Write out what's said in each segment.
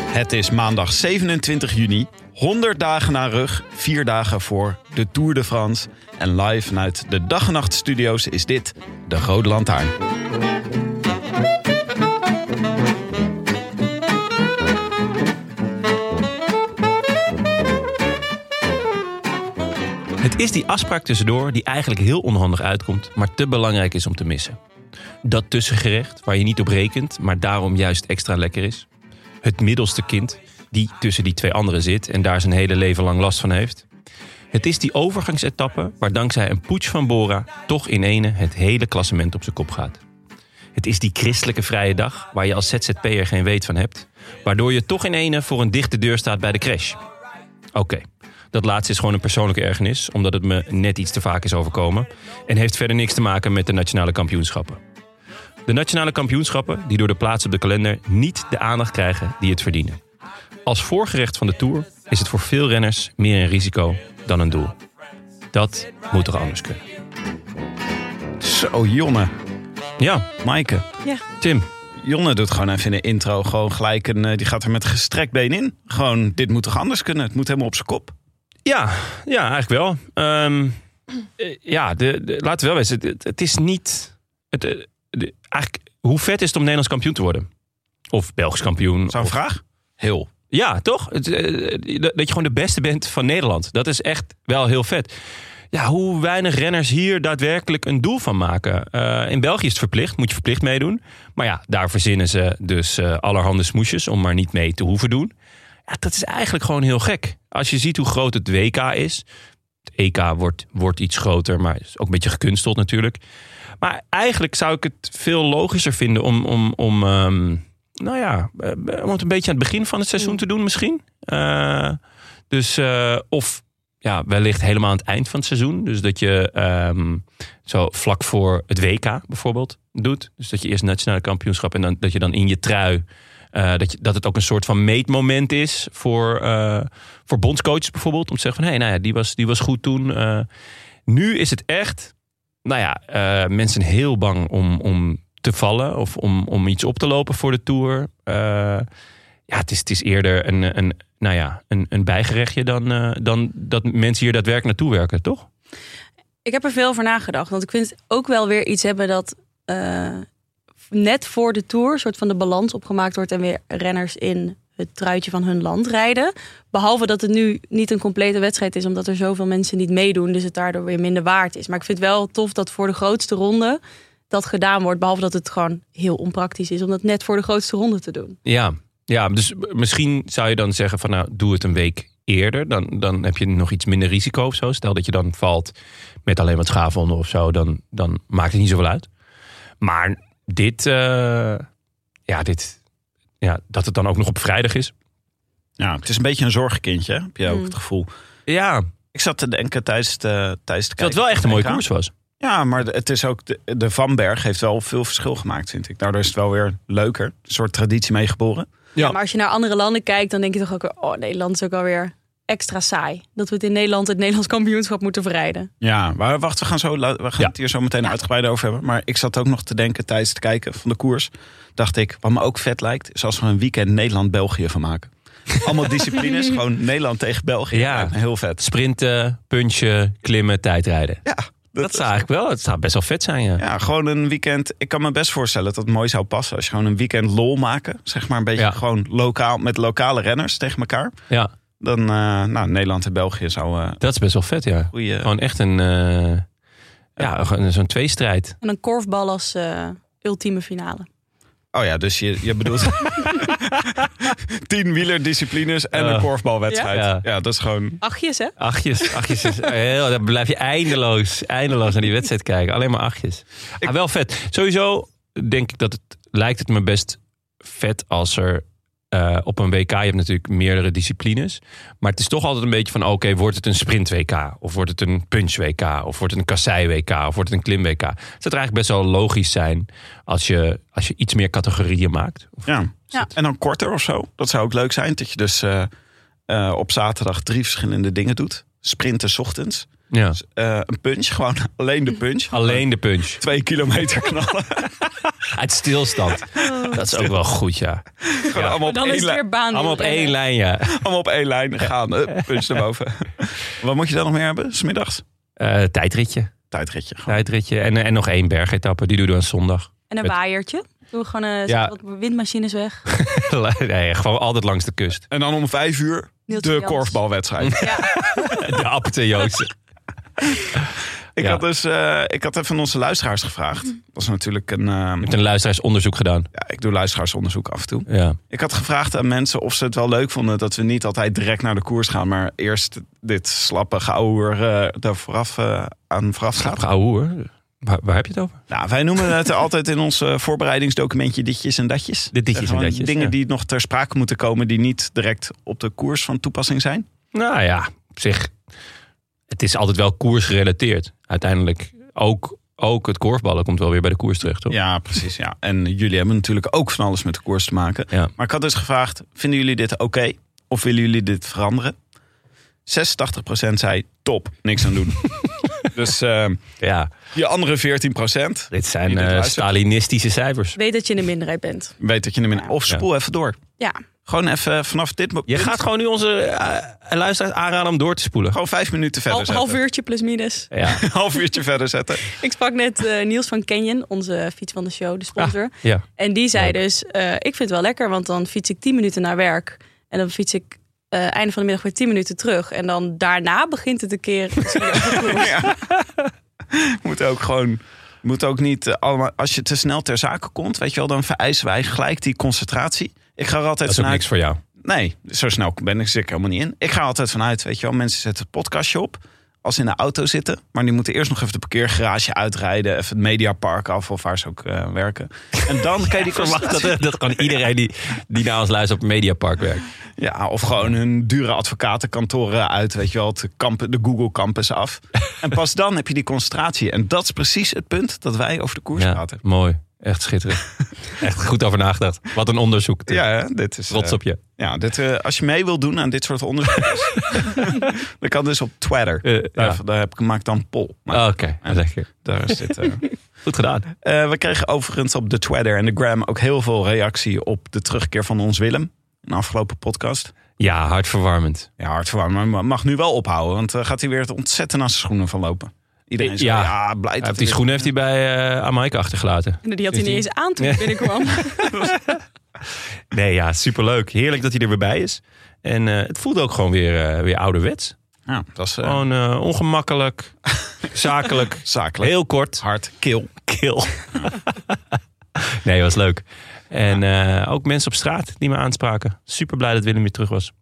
Het is maandag 27 juni, 100 dagen na rug, 4 dagen voor de Tour de France. En live vanuit de dag en nacht studio's is dit de Rode Lantaarn. Het is die afspraak tussendoor die eigenlijk heel onhandig uitkomt, maar te belangrijk is om te missen. Dat tussengerecht waar je niet op rekent, maar daarom juist extra lekker is. Het middelste kind die tussen die twee anderen zit en daar zijn hele leven lang last van heeft. Het is die overgangsetappe waar dankzij een poets van Bora toch in ene het hele klassement op zijn kop gaat. Het is die christelijke vrije dag waar je als ZZP'er geen weet van hebt, waardoor je toch in ene voor een dichte deur staat bij de crash. Oké, dat laatste is gewoon een persoonlijke ergernis, omdat het me net iets te vaak is overkomen. En heeft verder niks te maken met de nationale kampioenschappen. De nationale kampioenschappen die door de plaats op de kalender niet de aandacht krijgen die het verdienen. Als voorgerecht van de Tour is het voor veel renners meer een risico dan een doel. Dat moet toch anders kunnen. Zo, Jonne. Ja, Maaike. Ja, Tim, Jonne doet gewoon even een intro. Gewoon gelijk een, eh, die gaat er met gestrekt been in. Gewoon, dit moet toch anders kunnen? Het moet helemaal op zijn kop. Ja, ja eigenlijk wel. Ehm, eh, ja, de, de- laten we wel wezen. Het, het is niet... Het, eh, de- eigenlijk, hoe vet is het om Nederlands kampioen te worden? Of Belgisch kampioen. Zo'n of- vraag? Heel. Ja, toch? Het, eh, eh, dat je gewoon de beste bent van Nederland. Dat is echt wel heel vet. Ja, hoe weinig renners hier daadwerkelijk een doel van maken. Eh, in België is het verplicht, moet je verplicht meedoen. Maar ja, daar verzinnen ze dus eh, allerhande smoesjes om maar niet mee te hoeven doen. Ja, dat is eigenlijk gewoon heel gek. Als je ziet hoe groot het WK is. Het EK wordt, wordt iets groter, maar is ook een beetje gekunsteld natuurlijk. Maar eigenlijk zou ik het veel logischer vinden om, om, om ehm, nou ja, eh, om het een beetje aan het begin van het seizoen te doen misschien. Eh, dus, eh, of ja, wellicht helemaal aan het eind van het seizoen. Dus dat je ehm, zo vlak voor het WK bijvoorbeeld doet. Dus dat je eerst nationale kampioenschap en dan, dat je dan in je trui... eh, dat, je, dat het ook een soort van meetmoment is voor, eh, voor bondscoaches bijvoorbeeld. Om te zeggen van, hé, hey, nou ja, die was, die was goed toen. eh. nu is het echt, nou ja, eh, mensen heel bang om, om te vallen of om, om iets op te lopen voor de Tour. Eh, ja, het is, het is eerder een, een, nou ja, een, een bijgerechtje dan, eh, dan dat mensen hier daadwerkelijk naartoe werken, toch? ik heb er veel over nagedacht. Want ik vind het ook wel weer iets hebben dat eh, net voor de Tour... soort van de balans opgemaakt wordt... en weer renners in het truitje van hun land rijden. Behalve dat het nu niet een complete wedstrijd is... omdat er zoveel mensen niet meedoen... dus het daardoor weer minder waard is. Maar ik vind het wel tof dat voor de grootste ronde dat gedaan wordt. Behalve dat het gewoon heel onpraktisch is... om dat net voor de grootste ronde te doen. Ja, ja dus misschien zou je dan zeggen van nou, doe het een week eerder. Dan, dan heb je nog iets minder risico of zo. Stel dat je dan valt met alleen wat schaafwonden of zo, dan, dan maakt het niet zoveel uit. Maar dit, eh, ja, dit, ja, dat het dan ook nog op vrijdag is. Ja, het is een beetje een zorgkindje, hè? heb je ook Mm. het gevoel. Ja, Ik zat te denken tijdens de, eh, tijdens de dat het wel echt een mooie koers was. Ja, maar het is ook de, de Van Berg heeft wel veel verschil gemaakt, vind ik. Daardoor is het wel weer leuker. Een soort traditie meegeboren. Ja. Maar als je naar andere landen kijkt, dan denk je toch ook... weer, oh, Nederland is ook alweer extra saai. Dat we het in Nederland het Nederlands kampioenschap moeten verrijden. Ja, maar wacht, we gaan, zo, la- we gaan Ja. het hier zo meteen uitgebreid over hebben. Maar ik zat ook nog te denken tijdens het kijken van de koers. Dacht ik, wat me ook vet lijkt, is als we een weekend Nederland-België van maken. Allemaal disciplines, gewoon Nederland tegen België. Ja. Lijkt me heel vet. Sprinten, punchen, klimmen, tijdrijden. Ja, dat, Dat zou eigenlijk wel, het zou best wel vet zijn, ja. Ja, gewoon een weekend. Ik kan me best voorstellen dat het mooi zou passen als je gewoon een weekend lol maken. Zeg maar een beetje Ja. gewoon lokaal met lokale renners tegen elkaar. Ja, Dan, eh, nou, Nederland en België zou eh dat is best wel vet, ja. goede. Gewoon echt een, eh, ja, gewoon zo'n tweestrijd. En een korfbal als eh, ultieme finale. Oh ja, dus je, je bedoelt tien wielerdisciplines en Ja. een korfbalwedstrijd. Ja? Ja? Ja. dat is gewoon... Achtjes, hè? Achtjes, achtjes. is heel, dan blijf je eindeloos, eindeloos naar die wedstrijd kijken. Alleen maar achtjes. Ah, wel vet. Sowieso denk ik dat het, lijkt het me best vet als er eh, op een WK, je hebt natuurlijk meerdere disciplines. Maar het is toch altijd een beetje van, oké, wordt het een sprint WK? Of wordt het een punch WK? Of wordt het een kassei WK? Of wordt het een klim WK? Dus dat zou eigenlijk best wel logisch zijn als je, als je iets meer categorieën maakt. Of- Ja. Ja. En dan korter of zo. Dat zou ook leuk zijn. Dat je dus eh, eh, op zaterdag drie verschillende dingen doet. Sprinten 's ochtends. Ja. Dus, eh, een punch, gewoon alleen de punch. Alleen de punch. Twee kilometer knallen. Uit stilstand. Dat is ook wel goed, ja. Gewoon allemaal, op Dan is één het lijn, weer baan. Allemaal op één lijn, ja. allemaal op één lijn gaan. Eh, punch naar boven. Wat moet je dan nog meer hebben? Smiddags? Eh, tijdritje. Tijdritje. gewoon. Tijdritje. En, en nog één bergetappe. Die doen we dan zondag. En een Met- waaiertje. Doe gewoon eh, zet Ja. wat windmachines weg. nee, gewoon altijd langs de kust. En dan om vijf uur Niels de Jans. korfbalwedstrijd. De apte Joost. Ik, Ja. had dus, eh, ik had even onze luisteraars gevraagd. Dat was natuurlijk een. eh, Met een luisteraarsonderzoek gedaan. ja, ik doe luisteraarsonderzoek af en toe. Ja. Ik had gevraagd aan mensen of ze het wel leuk vonden dat we niet altijd direct naar de koers gaan, maar eerst dit slappe gauwer eh daar vooraf eh, aan vooraf gaat. Gauw hoor. Waar, waar heb je het over? Nou, wij noemen het altijd in ons eh, voorbereidingsdocumentje ditjes en datjes. De ditjes Eh, en gewoon datjes, Dingen ja. die nog ter sprake moeten komen die niet direct op de koers van toepassing zijn. Nou ja, op zich. Het is altijd wel koersgerelateerd. Uiteindelijk ook, ook het korfballen komt wel weer bij de koers terecht, toch? Ja, precies. Ja. En jullie hebben natuurlijk ook van alles met de koers te maken. Ja. Maar ik had dus gevraagd, vinden jullie dit oké? Of willen jullie dit veranderen? 86% zei top, niks aan doen. dus eh, Ja, die andere 14% dit zijn Wie dit eh, luistert. Stalinistische cijfers. Weet dat je in de minderheid bent. weet dat je hem in... Of Ja. spoel even door. Ja. Gewoon even vanaf dit moment. Je gaat gewoon nu onze eh, luisteraars aanraden om door te spoelen. Gewoon vijf minuten verder dus Half, zetten. half uurtje plus minus. Ja. half uurtje verder zetten. Ik sprak net eh, Niels van Canyon, onze fiets van de show, de sponsor. ja. En die zei Ah, Leuk. dus, eh, ik vind het wel lekker, want dan fiets ik 10 minuten naar werk. En dan fiets ik eh, einde van de middag weer 10 minuten terug. En dan daarna begint het een keer. ja. Moet ook gewoon. Moet ook niet eh, allemaal. Als je te snel ter zake komt, weet je wel, dan vereisen wij gelijk die concentratie. Ik ga er Dat altijd is ook vanuit. niks voor jou. Nee, zo snel ben ik zit ik helemaal niet in. Ik ga er altijd vanuit, weet je wel, mensen zetten het podcastje op als ze in de auto zitten. Maar die moeten eerst nog even de parkeergarage uitrijden, even het mediapark af of waar ze ook eh, werken. En dan kan je die Ik verwacht concentratie- dat, dat kan iedereen die, die naar ons luistert op Mediapark werkt. Ja, of gewoon hun dure advocatenkantoren uit, weet je wel, het kamp- de Google Campus af. En pas dan heb je die concentratie. En dat is precies het punt dat wij over de koers Ja, praten. mooi. Echt schitterend. Echt goed over nagedacht. Wat een onderzoek. Ja, hè, dit is. Trots eh, op je. ja, dit, eh, als je mee wilt doen aan dit soort onderzoeken, dan kan dus op Twitter. Eh, daar, ja. daar heb ik, maak dan een poll. Maar Ah, Oké, Ja. lekker. daar is dit, eh. Goed gedaan. Eh, we kregen overigens op de Twitter en de Gram ook heel veel reactie op de terugkeer van ons Willem. In de afgelopen podcast. Ja, hartverwarmend. Ja, hartverwarmend. Maar mag nu wel ophouden, want eh, gaat hij weer het ontzettend aan zijn schoenen van lopen. Iedereen zegt, Eh, Ja. ja, blij dat Hij heeft die hij- schoenen heeft hij bij eh Amaike achtergelaten. En die had hij niet eens aan toen ik binnenkwam. Nee, ja, superleuk. Heerlijk dat hij er weer bij is. En eh, het voelt ook gewoon weer, eh, weer ouderwets. Ja, dat is eh, Gewoon eh, ongemakkelijk, zakelijk, zakelijk. heel kort. hard, kil. Kill. nee, was leuk. En eh, ook mensen op straat die me aanspraken. Super blij dat Willem weer terug was.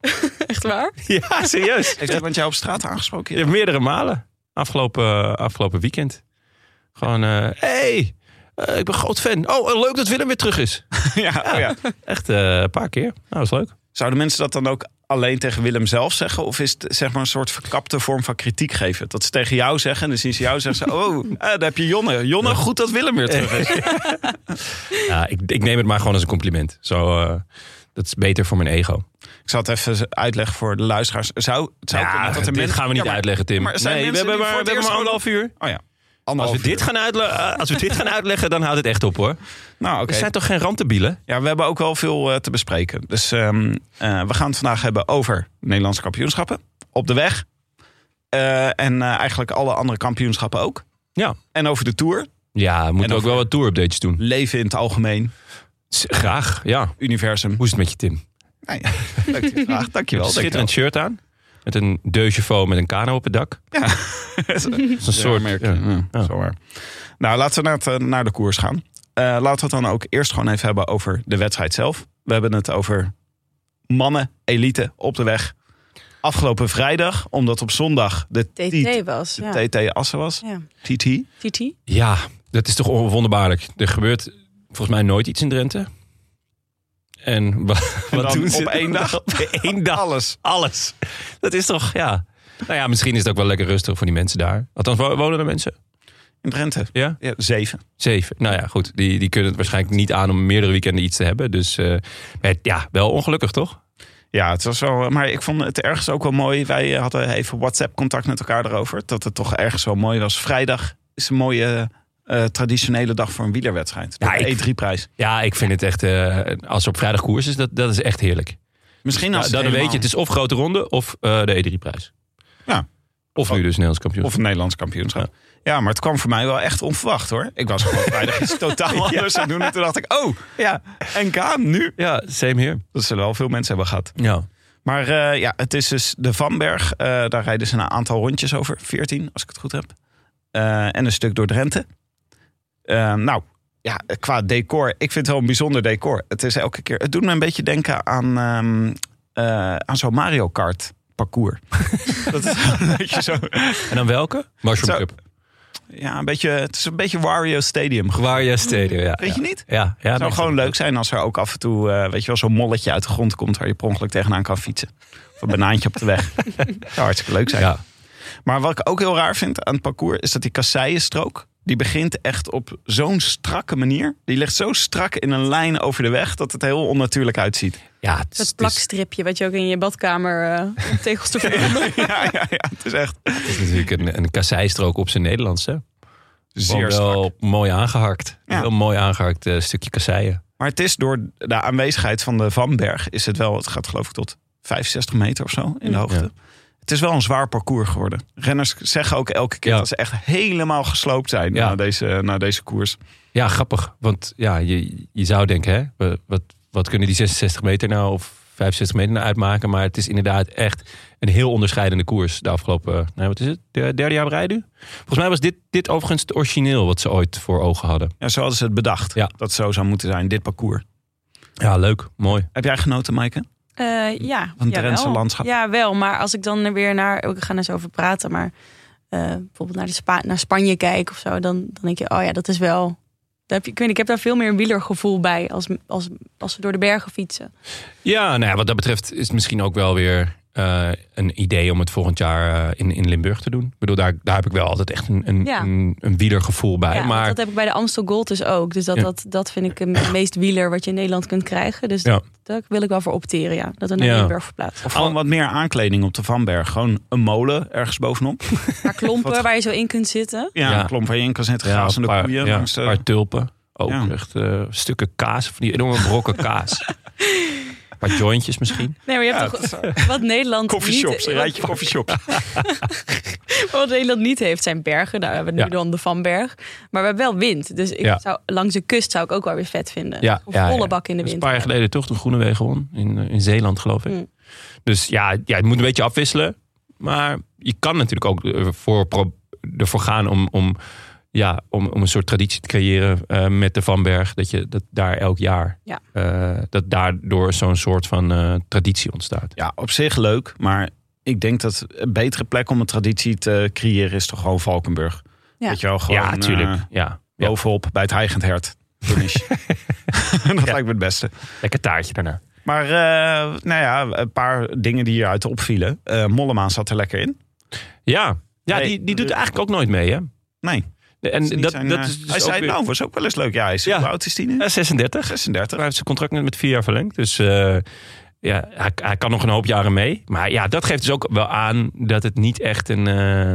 Echt waar? Ja, serieus. Heeft iemand jou op straat aangesproken? Ja, meerdere malen. Afgelopen, eh, afgelopen weekend. Gewoon, eh, hey, eh, ik ben groot fan. Oh, eh, leuk dat Willem weer terug is. ja, oh ja. Echt eh, een paar keer. Nou, is leuk. Zouden mensen dat dan ook alleen tegen Willem zelf zeggen? Of is het zeg maar een soort verkapte vorm van kritiek geven? Dat ze tegen jou zeggen en dan zien ze jou zeggen ze... Oh, eh, daar heb je Jonne. Jonne, goed dat Willem weer terug is. Ja, ik, ik neem het maar gewoon als een compliment. Zo, eh, dat is beter voor mijn ego. Ik zal het even uitleggen voor de luisteraars. Zou, het zou kunnen dat er dit mensen- gaan we niet Ja, maar- uitleggen, Tim. maar er zijn nee, we mensen hebben die maar, voor we het hebben maar eerst anderhalf uur. Oh ja, Als anderhalf we, dit uur. gaan uitle- eh, als we dit gaan uitleggen, dan houdt het echt op hoor. Nou, Er oké. zijn toch geen randdebielen? Ja, we hebben ook wel veel eh, te bespreken. Dus ehm, eh, we gaan het vandaag hebben over Nederlandse kampioenschappen. Op de weg. Eh, en eh, eigenlijk alle andere kampioenschappen ook. Ja. En over de Tour. Ja, we moeten dan ook wel wat tour-updates doen. Leven in het algemeen. S- Graag, ja. Universum. Hoe is het met je, Tim? Nou ja, leuk die vraag. Dankjewel. Een schitterend shirt aan. Met een deujevaux met een kano op het dak. dankjewel. Dat is een soort... Ja, merk je. ja. Ja, zo waar. Nou, laten we naar, het, eh, naar de koers gaan. Eh, eh, laten we het dan ook eerst gewoon even hebben over de wedstrijd zelf. We hebben het over mannen, elite, op de weg. Afgelopen vrijdag, omdat op zondag de TT was. Ja. TT Assen was. Ja. TT. TT? Ja, dat is toch onwonderbaarlijk. Er gebeurt volgens mij nooit iets in Drenthe. En wa- En wat dan doen op ze? één dag? Op één dag. Alles. Alles. Dat is toch, ja. Nou ja, misschien is het ook wel lekker rustig voor die mensen daar. Althans, wo- wonen er mensen? In Drenthe. Ja? Ja, zeven. Zeven. Nou ja, goed. Die, die kunnen het waarschijnlijk niet aan om meerdere weekenden iets te hebben. Dus eh, maar ja, wel ongelukkig, toch? Ja, het was wel. Maar ik vond het ergens ook wel mooi. Wij eh, hadden even WhatsApp-contact met elkaar erover. Dat het toch ergens wel mooi was. Vrijdag is een mooie eh, traditionele dag voor een wielerwedstrijd. Ja, de E ik- E3-prijs. Ja, ik vind het echt, eh, als er op vrijdag koers is, dat, dat is echt heerlijk. Misschien Ja, als dan het Nou, helemaal- weet je, het dus- is of grote ronde of eh, de E3-prijs. Ja. Oh. Of nu dus Nederlands kampioen. Of een Nederlands kampioenschap. Ja. maar het kwam voor mij wel echt onverwacht hoor. Ik was gewoon vrijdag iets totaal anders aan het doen. En toen dacht ik, oh ja, NK nu. Ja, same hier. Dat zullen wel veel mensen hebben gehad. Ja. Maar eh, ja, het is dus de Vanberg. Eh, daar rijden ze een aantal rondjes over. 14, als ik het goed heb. Eh, en een stuk door Drenthe. Eh, nou, ja, qua decor. Ik vind het wel een bijzonder decor. Het is elke keer. Het doet me een beetje denken aan, ehm, eh, aan zo'n Mario Kart parcours. dat is een beetje zo. En dan welke? Mushroom Zo. Cup. Ja, een beetje, het is een beetje Wario Stadium. Gwaria Stadium, ja. Weet je niet? Ja, ja. Het dat zou is gewoon het. leuk zijn als er ook af en toe, eh, weet je wel, zo'n molletje uit de grond komt waar je per ongeluk tegenaan kan fietsen. Of een banaantje op de weg. zou hartstikke leuk zijn. Ja. Maar wat ik ook heel raar vind aan het parcours is dat die kasseienstrook, die begint echt op zo'n strakke manier. Die ligt zo strak in een lijn over de weg dat het heel onnatuurlijk uitziet. ja het is- Dat het is- plakstripje wat je ook in je badkamer eh, om tegels te verbinden. ja, ja, ja, het is echt het is natuurlijk een, een kasseistrook op zijn Nederlands, hè? zeer Gewoon strak. wel mooi aangehakt. Ja. Heel mooi aangehakt eh, stukje kasseien. Maar het is door de aanwezigheid van de Vanberg, is het wel, het gaat geloof ik tot 65 meter of zo in de hoogte. Ja. Het is wel een zwaar parcours geworden. Renners zeggen ook elke keer Ja. dat ze echt helemaal gesloopt zijn Ja. na, deze, na deze koers. Ja, grappig. Want ja, je, je zou denken, hè? we- Wat, wat kunnen die 66 meter nou of 65 meter nou uitmaken? Maar het is inderdaad echt een heel onderscheidende koers de afgelopen... Nee, wat is het? De, derde jaar op rij nu? Volgens mij was dit, dit overigens het origineel wat ze ooit voor ogen hadden. Ja, zo hadden ze het bedacht Ja. dat het zo zou moeten zijn, dit parcours. Ja, leuk. Mooi. Heb jij genoten, Maaike? Eh, ja, Van het jawel. Drentse landschap. Ja, wel. Maar als ik dan er weer naar... We gaan er zo over praten, maar eh, bijvoorbeeld naar, de Spa- naar Spanje kijk of zo... Dan, dan denk je, oh ja, dat is wel... daar heb je, ik, weet, niet, ik heb daar veel meer een wielergevoel bij als, als, als we door de bergen fietsen. Ja, nou ja, wat dat betreft is het misschien ook wel weer eh, een idee om het volgend jaar eh, in, in Limburg te doen. Ik bedoel, daar, daar heb ik wel altijd echt een, een, Ja. een, een wielergevoel bij. Ja, want maar Dat heb ik bij de Amstel Gold dus ook. Dus dat, Ja. dat, dat vind ik het meest wieler wat je in Nederland kunt krijgen. Dus Ja. dat- daar wil ik wel voor opteren, ja. Dat we naar Ja. Limburg verplaatsen. Of gewoon wat meer aankleding op de Vanberg. Gewoon een molen ergens bovenop. Maar klompen waar je zo in kunt zitten. Ja, Ja. een klomp waar je in kan zitten. ja, grazende paar, koeien. ja, langs de- een paar tulpen. Ook Ja. echt eh, stukken kaas, van die enorme brokken kaas. Een paar jointjes misschien. Nee, maar je hebt dat toch wat Nederland Coffeeshops, niet... een rijtje coffeeshops. Wat Nederland niet heeft zijn bergen. Nou, we hebben nu Ja. dan de Vanberg. Maar we hebben wel wind. Dus ik Ja. zou, langs de kust zou ik ook wel weer vet vinden. Ja, Of ja, ja. volle bak in de Dat is een wind. paar jaar geleden toch de Groene Wegen won. In, eh, in Zeeland, geloof ik. Mm. Dus ja, ja, het moet een beetje afwisselen. Maar je kan natuurlijk ook ervoor, pro- ervoor gaan om, om, ja, om, om een soort traditie te creëren eh, met de Vanberg. Dat je dat daar elk jaar, Ja. eh, dat daardoor zo'n soort van eh, traditie ontstaat. Ja, op zich leuk, maar ik denk dat een betere plek om een traditie te creëren is toch gewoon Valkenburg. Ja. Weet je wel, gewoon ja, natuurlijk. eh, ja. ja, bovenop bij het Heigend Hert. Finish. dat lijkt me het beste. lekker taartje daarna. Maar eh, nou ja, een paar dingen die hieruit opvielen. Eh Mollema zat er lekker in. Ja, ja Nee, die, die doet de- eigenlijk ook nooit mee, hè? Nee. En is niet dat, zijn, dat eh, is dus hij ook zei, weer- nou, was ook wel eens leuk. Ja, hij is, Ja. hoe oud is die nu? Eh, 36. 36. Hij heeft zijn contract net met vier jaar verlengd. Dus eh, ja, hij, hij kan nog een hoop jaren mee. Maar ja, dat geeft dus ook wel aan dat het niet echt een... eh,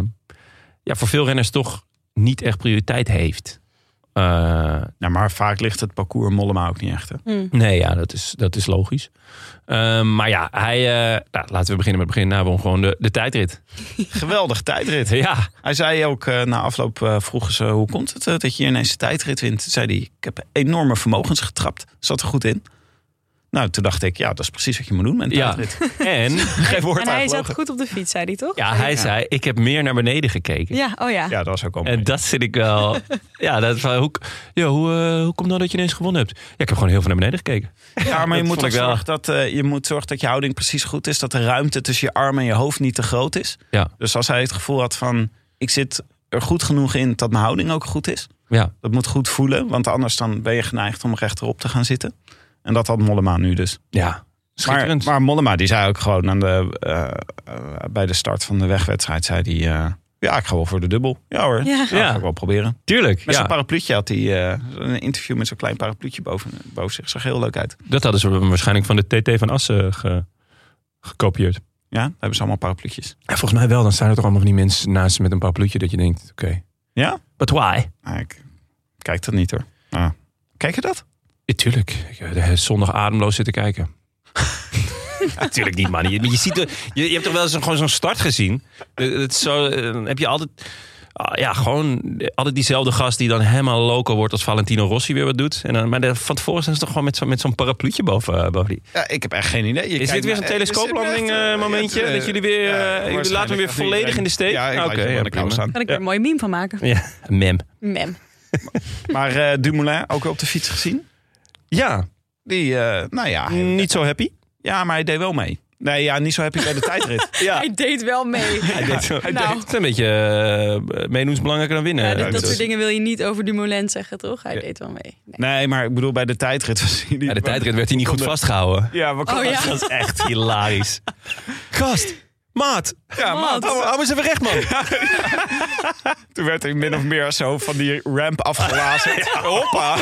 ja, voor veel renners toch niet echt prioriteit heeft. Eh, Nou, maar vaak ligt het parcours Mollema ook niet echt. Hè? nee, ja, dat is, dat is logisch. Eh, maar ja, hij, eh, nou, laten we beginnen met het begin. Nou, won gewoon de, de tijdrit. Geweldig tijdrit. Ja, Hij zei ook eh, na afloop, eh, vroegen ze hoe komt het eh, dat je ineens de tijdrit wint? Toen zei hij, ik heb enorme vermogens getrapt. Zat er goed in. Nou, toen dacht ik, ja, dat is precies wat je moet doen met een Ja. tijdrit. En, geen woord En hij uitgelogen. zat goed op de fiets, zei hij toch? Ja, hij zei, ik heb meer naar beneden gekeken. Ja, oh ja. Ja, dat was ook al En mooi. dat vind ik wel... ja, dat is wel, hoe, ja, hoe, eh, hoe komt nou dat je ineens gewonnen hebt? Ja, ik heb gewoon heel veel naar beneden gekeken. Ja, maar je dat moet, vond ook ik wel. zorgen dat, eh, je moet zorgen dat je houding precies goed is. Dat de ruimte tussen je arm en je hoofd niet te groot is. Ja, Dus als hij het gevoel had van, ik zit er goed genoeg in dat mijn houding ook goed is. ja. Dat moet goed voelen, want anders dan ben je geneigd om rechterop te gaan zitten. En dat had Mollema nu dus. ja. Maar, Schitterend. maar Mollema die zei ook gewoon aan de, eh, eh, bij de start van de wegwedstrijd, zei die, eh, ja, ik ga wel voor de dubbel. Ja hoor, Ja. ja. Ja. ga ik wel proberen. Tuurlijk, Met ja. zo'n parapluutje had hij eh, een interview met zo'n klein parapluutje boven, boven zich. Zag heel leuk uit. dat hadden ze waarschijnlijk van de TT van Assen ge- gekopieerd. Ja, daar hebben ze allemaal parapluutjes. Ja, volgens mij wel. Dan staan er toch allemaal van die mensen naast met een parapluutje dat je denkt, oké. Ja? But why? Nou, ik kijk dat niet hoor. Ah. Kijk je dat? Ja, tuurlijk. Ik heb de hele zondag ademloos zitten kijken. Natuurlijk niet, man. Je, je, ziet, de- je, je hebt toch wel eens een- gewoon zo'n start gezien? Eh, Het is zo, eh, dan heb je altijd... ah, Ja, gewoon altijd diezelfde gast die dan helemaal loco wordt als Valentino Rossi weer wat doet. En dan, maar de- van tevoren zijn ze toch gewoon met zo'n met zo'n parapluutje boven, eh, boven die. Ja, ik heb echt geen idee. Je Is dit kijkt weer naar- zo'n eh, is dit telescooplanding echt, eh, eh, momentje? het, eh, dat jullie weer, ja, eh, jullie laten me waarschijnlijk weer gaat volledig iedereen- in de steek? Ja, ik laat je Oké, gewoon ja, aan de kou prima. staan. Kan ik er een mooi meme van maken? Ja, mem. Mem. Maar eh, Dumoulin, ook wel op de fiets gezien. Ja, Die, eh, nou ja. hij- niet zo happy. Ja, maar hij deed wel mee. Nee, ja, niet zo happy bij de tijdrit. Ja. Hij deed wel mee. Hij deed zo. Nou. Het is een beetje eh, meedoen is belangrijker dan winnen. Ja, dit- Eh, dat dus- soort dingen wil je niet over Dumoulin zeggen, toch? Hij deed wel mee. Nee. Nee, maar ik bedoel, bij de tijdrit was hij niet... Bij de tijdrit werd hij niet goed vastgehouden. Ja, maar Oh ja. Dat is echt hilarisch. Gast, maat. Ja, maar Wat? Hou eens even recht, man. toen werd hij min of meer zo van die ramp afgelazen. Hoppa!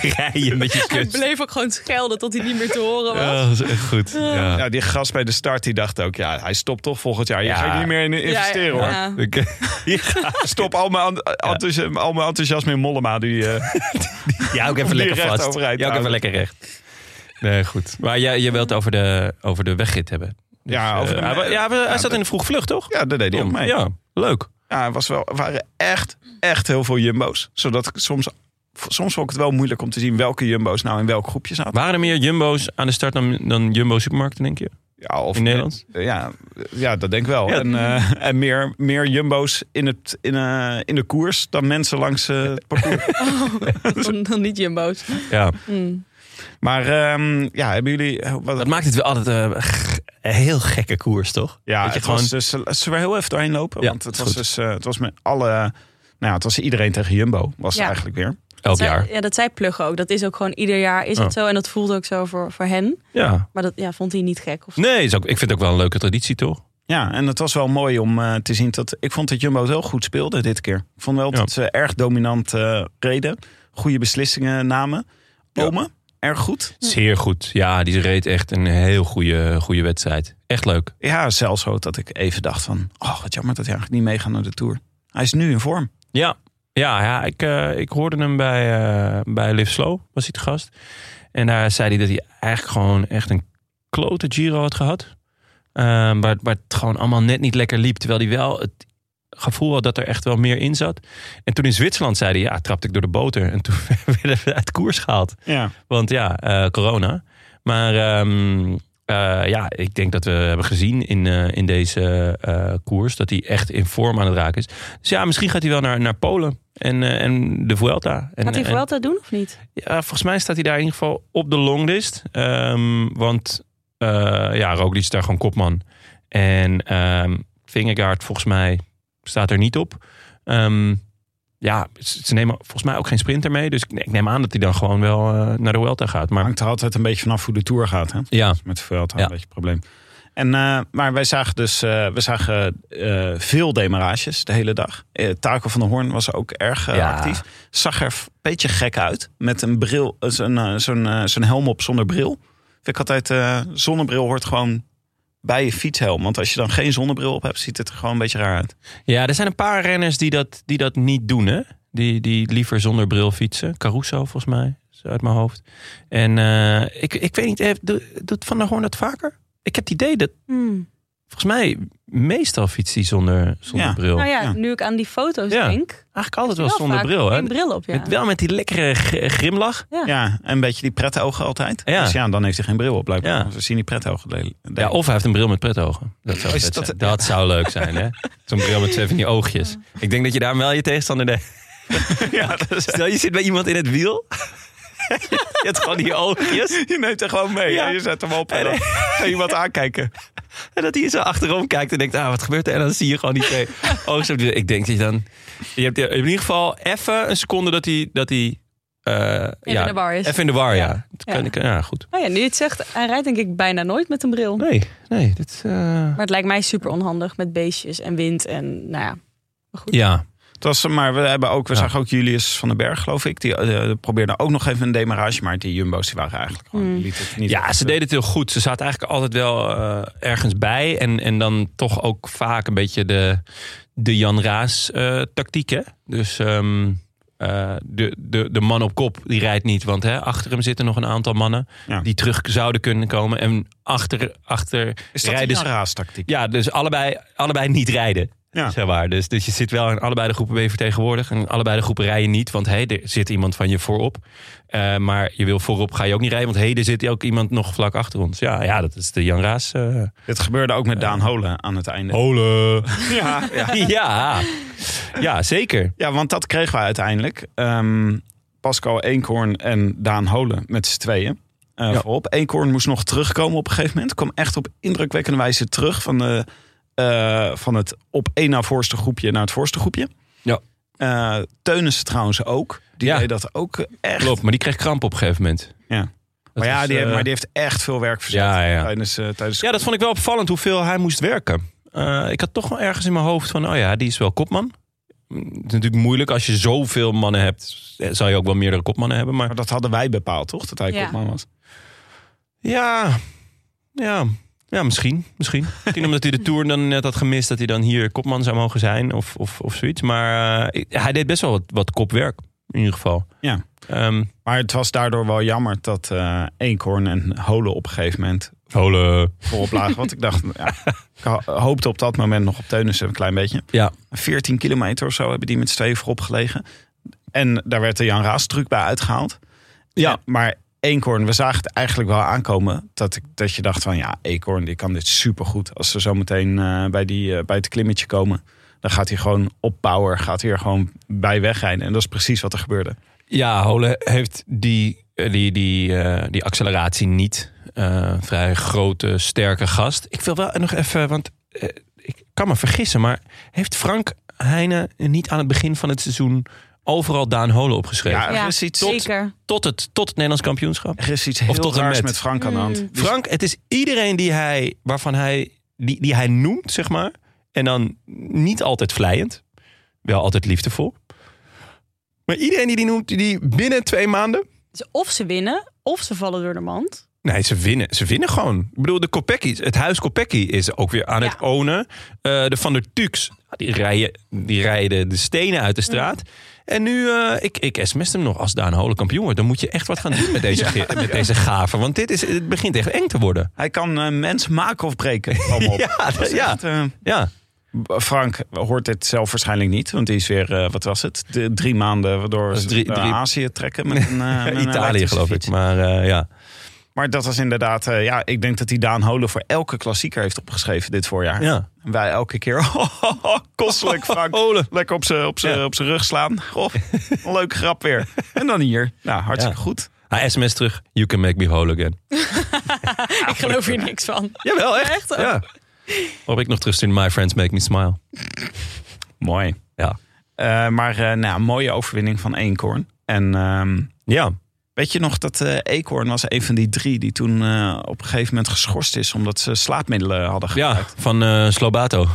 Rijden met je Hij kut. bleef ook gewoon schelden tot hij niet meer te horen was. Ja, dat is echt goed. Ja. Ja, Nou, die gast bij de start, die dacht ook, ja, hij stopt toch volgend jaar. Je Ja. gaat niet meer in investeren, hoor. Ja. Oké. Stop al mijn, an- enthousiasme, al mijn enthousiasme in Mollema. Die, eh, Ja, ook even Die lekker recht vast. overeind Ja, ook even houden. lekker recht. Nee, goed. Maar jij, je wilt over de, over de wegrit hebben. ja, over de- Eh, hij, wa- ja, hij zat in de vroeg vlucht, toch? ja, daar deed hij ook mee. Ja, leuk. Ja, er was wel, er waren echt, echt heel veel jumbo's. Zodat ik soms, soms vond ik het wel moeilijk om te zien welke jumbo's nou in welk groepje zaten. Waren er meer jumbo's aan de start dan, dan jumbo-supermarkten, denk je? Ja, of eh, In Nederland? Ja, ja dat denk ik wel. Ja. En, eh, en meer, meer jumbo's in, het, in, eh, in de koers dan mensen langs eh, het parcours. Dan, dan niet Jumbo's. Ja. maar ehm, ja, hebben jullie... eh, Wat, Dat maakt het wel altijd eh, g- een heel gekke koers, toch? ja, dat het je gewoon. was dus, zullen we heel even doorheen lopen? Ja, want het is was, goed. dus, eh, het was met alle... Nou, ja, het was iedereen tegen Jumbo, was het Ja. eigenlijk weer. elk Zij- jaar. Ja, dat zij pluggen ook. Dat is ook gewoon ieder jaar is Oh. het zo. En dat voelde ook zo voor, voor hen. Ja. Maar dat ja, vond hij niet gek. Of zo. Nee, is ook, ik vind het ook wel een leuke traditie, toch? Ja, en het was wel mooi om eh, te zien dat... Ik vond dat Jumbo het heel goed speelde dit keer. Ik vond wel Ja. dat ze erg dominant eh, reden. Goede beslissingen namen. Ja. Omen, erg goed. Zeer goed. Ja, die reed echt een heel goede, goede wedstrijd. Echt leuk. Ja, zelfs zo dat ik even dacht van... Oh, wat jammer dat hij eigenlijk niet meegaat naar de Tour. Hij is nu in vorm. Ja, ja, ja ik, eh, ik hoorde hem bij, eh bij Live Slow, was hij te gast. En daar zei hij dat hij eigenlijk gewoon echt een klote Giro had gehad. Eh, waar, waar het gewoon allemaal net niet lekker liep. Terwijl hij wel het gevoel had dat er echt wel meer in zat. En toen in Zwitserland zei hij, ja, trapte ik door de boter. En toen werden we uit koers gehaald. Ja. Want ja, eh, corona. Maar ehm, eh, ja, ik denk dat we hebben gezien in, eh, in deze eh, koers dat hij echt in vorm aan het raken is. Dus ja, misschien gaat hij wel naar, naar Polen en, eh, en de Vuelta. En, Gaat hij en- vooral dat doen of niet? ja, volgens mij staat hij daar in ieder geval op de longlist. Ehm, want eh ja, Roglic is daar gewoon kopman. En ehm Vingegaard volgens mij staat er niet op. Ehm, ja, ze ze nemen volgens mij ook geen sprinter mee. Dus ik, ik neem aan dat hij dan gewoon wel eh, naar de Vuelta gaat. Maar Hangt er altijd een beetje vanaf hoe de Tour gaat. Hè? ja, Met de Vuelta Ja. een beetje een probleem. En, eh, maar wij zagen dus eh, we zagen, eh, veel demarages de hele dag. Eh Taco van der Hoorn was ook erg eh, Ja. actief. Zag er een beetje gek uit. Met een bril, eh, zo'n, eh, zo'n, eh, zo'n helm op zonder bril. Vind ik altijd, eh, zonnebril hoort gewoon bij je fietshelm. Want als je dan geen zonnebril op hebt, ziet het er gewoon een beetje raar uit. ja, er zijn een paar renners die dat, die dat niet doen. Hè? Die, die liever zonder bril fietsen. Caruso volgens mij, is uit mijn hoofd. Hmm. En eh, ik, ik weet niet, eh, doet Van der Hoorn dat vaker? Ik heb het idee dat, Volgens mij meestal fietst hij zonder, zonder Ja. bril. Nou ja, Ja. nu ik aan die foto's Ja. denk. Eigenlijk altijd wel wel zonder vaak bril. Hè? Een bril op, ja. Met, wel met die lekkere g- grimlach. Ja. Ja, en een beetje die pretogen altijd. Ja. Dus ja, dan heeft hij geen bril op blijkbaar. Ja. Want We zien die pretogen. delen. Ja, of hij heeft een bril met pretogen. Dat zou, Is vet dat- zijn. dat zou leuk zijn, hè? Zo'n bril met twee van die oogjes. Ik denk dat je daar wel je tegenstander deed. Stel, je zit bij iemand in het wiel. je hebt gewoon die oogjes. Je neemt er gewoon mee. Ja. en Je zet hem op en dan ga je iemand aankijken. En dat hij zo achterom kijkt en denkt, ah, wat gebeurt er? En dan zie je gewoon die twee oogjes. op die- Ik denk dat je dan... Je hebt in ieder geval even een seconde dat hij... Dat hij eh, ja, in de war is. Even in de war, ja. Dat kan- Ja. kan- Ja, goed. Nou ja, nu je het zegt, hij rijdt denk ik bijna nooit met een bril. Nee, nee, dit... eh, Maar het lijkt mij super onhandig met beestjes en wind en nou ja. Maar goed. Ja, Het was, maar we, hebben ook, we Ja. zagen ook Julius van den Berg, geloof ik. Die eh, probeerde ook nog even een demarage. Maar die Jumbo's die waren eigenlijk gewoon... die lieten het niet eh, Ja, ze deden het heel goed. Ze zaten eigenlijk altijd wel eh, ergens bij. En, en dan toch ook vaak een beetje de, de Jan Raas eh, tactiek. Hè? Dus ehm, eh, de, de, de man op kop die rijdt niet. Want hè, achter hem zitten nog een aantal mannen Ja. die terug zouden kunnen komen. En achter, achter Is dat nou? rijden een ze- raastactiek? Ja, dus allebei, allebei niet rijden. Ja. Zeg maar. dus, dus je zit wel in allebei de groepen ben je vertegenwoordigd. En allebei de groepen rijden niet, want hey, er zit iemand van je voorop. Eh, maar je wil voorop ga je ook niet rijden, want hey, er zit ook iemand nog vlak achter ons. Ja, ja dat is de Jan Raas. eh Dit gebeurde ook met Daan Holen aan het einde. Oh. Holen. Ja, ja. Ja. ja, zeker. ja, want dat kregen we uiteindelijk. Ehm, Pascal Eenkhoorn en Daan Holen met z'n tweeën. eh, Ja. voorop. Eenkhoorn moest nog terugkomen op een gegeven moment. Kwam echt op indrukwekkende wijze terug van, de, eh, van het op één na voorste groepje naar het voorste groepje. Ja. Eh, Teunissen trouwens ook. Die Ja. deed dat ook echt. Klopt, maar die kreeg kramp op een gegeven moment. Ja. Dat Maar ja, is, die, heeft- eh, maar die heeft echt veel werk verzet ja, ja. tijdens... eh, tijdens Dus Ja, dat vond ik wel opvallend hoeveel hij moest werken. Eh, ik had toch wel ergens in mijn hoofd van, oh ja, die is wel kopman. Mm, Het is natuurlijk moeilijk als je zoveel mannen hebt. eh, Zou je ook wel meerdere kopmannen hebben. Maar Maar dat hadden wij bepaald, toch? Dat hij Ja. kopman was. ja, ja, ja misschien. Misschien. misschien omdat hij de Tour dan net had gemist. Dat hij dan hier kopman zou mogen zijn of, of, of zoiets. Maar eh, hij deed best wel wat, wat kopwerk. In ieder geval. Ja. Ehm Maar het was daardoor wel jammer dat eh Eenkhoorn en Holen op een gegeven moment Holen. voorop lagen. Want ik dacht, ja, ik ho- hoopte op dat moment nog op Teunissen een klein beetje. Ja. 14 kilometer of zo hebben die met z'n tweeën voorop gelegen. En daar werd de Jan Raas truc bij uitgehaald. Ja. En- maar Eenkhoorn, we zagen het eigenlijk wel aankomen. Dat, ik, dat je dacht van, ja, Eenkhoorn die kan dit supergoed. Als ze zo meteen eh, bij, die, eh, bij het klimmetje komen... Dan gaat hij gewoon op power, gaat hij er gewoon bij wegrijden. En dat is precies wat er gebeurde. Ja, Hole heeft die, eh, die, die, eh, die acceleratie niet. Eh, vrij grote, sterke gast. Ik wil wel nog even, want eh, ik kan me vergissen, maar heeft Frank Heijnen niet aan het begin van het seizoen overal Daan Hole opgeschreven? Ja, er is iets tot- zeker. Tot, het, tot het Nederlands kampioenschap. Er is iets heel tot en raars met. met. Frank aan de hand. Dus- Frank, het is iedereen die hij, waarvan hij, die, die hij noemt, zeg maar. En dan niet altijd vlijend, wel altijd liefdevol. Maar iedereen die die noemt, die binnen twee maanden Dus of ze winnen, of ze vallen door de mand. Nee, ze winnen. Ze winnen gewoon. Ik bedoel, de Kopecky, het huis Kopecky is ook weer aan Ja. het ownen. Eh, de Van der Tux, die rijden, die rijden de stenen uit de straat. En nu, eh, ik, ik sms hem nog als Daan Holen kampioen wordt. Dan moet je echt wat gaan doen met deze, ge- met deze gaven. Want dit is, het begint echt eng te worden. Hij kan eh, mens maken of breken. Kom op. Ja, Dat is ja. echt, eh, Ja, Frank hoort dit zelf waarschijnlijk niet. Want die is weer, eh, wat was het? De, drie maanden waardoor Dat is ze drie- naar drie- Azië trekken. Met een, eh, met een Italië elektrische geloof fiets. ik. Maar eh, ja. Maar dat was inderdaad... eh, ja, ik denk dat hij Daan Holen voor elke klassieker heeft opgeschreven dit voorjaar. ja. En wij elke keer... oh, kostelijk Frank. Holen. Lekker op zijn op z'n- Ja. op zijn rug slaan. Goh, een leuke grap weer. En dan hier. Nou, hartstikke Ja. goed. Hij sms terug, you can make me whole again. ik geloof hier niks van. Jawel, echt. Echt? Ja. Waarop ik nog terugstuur, my friends make me smile. Mooi. Ja. Eh, maar eh, nou, ja, mooie overwinning van Eenkhoorn. En ehm, Ja. weet je nog dat eh Eekhoorn was een van die drie die toen eh, op een gegeven moment geschorst is omdat ze slaapmiddelen hadden Ja, gebruikt. van eh Slobato.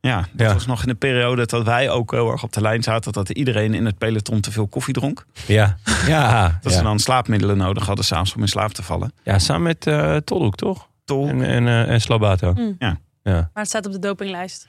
Ja, dat Ja. was nog in de periode dat wij ook heel erg op de lijn zaten dat iedereen in het peloton te veel koffie dronk. Ja. Ja. Dat ja. ze dan slaapmiddelen nodig hadden s'avonds om in slaap te vallen. Ja, samen met eh Tolhoek, toch? Tol. En, en, eh, en Slobato. Mm. Ja. ja. Maar het staat op de dopinglijst.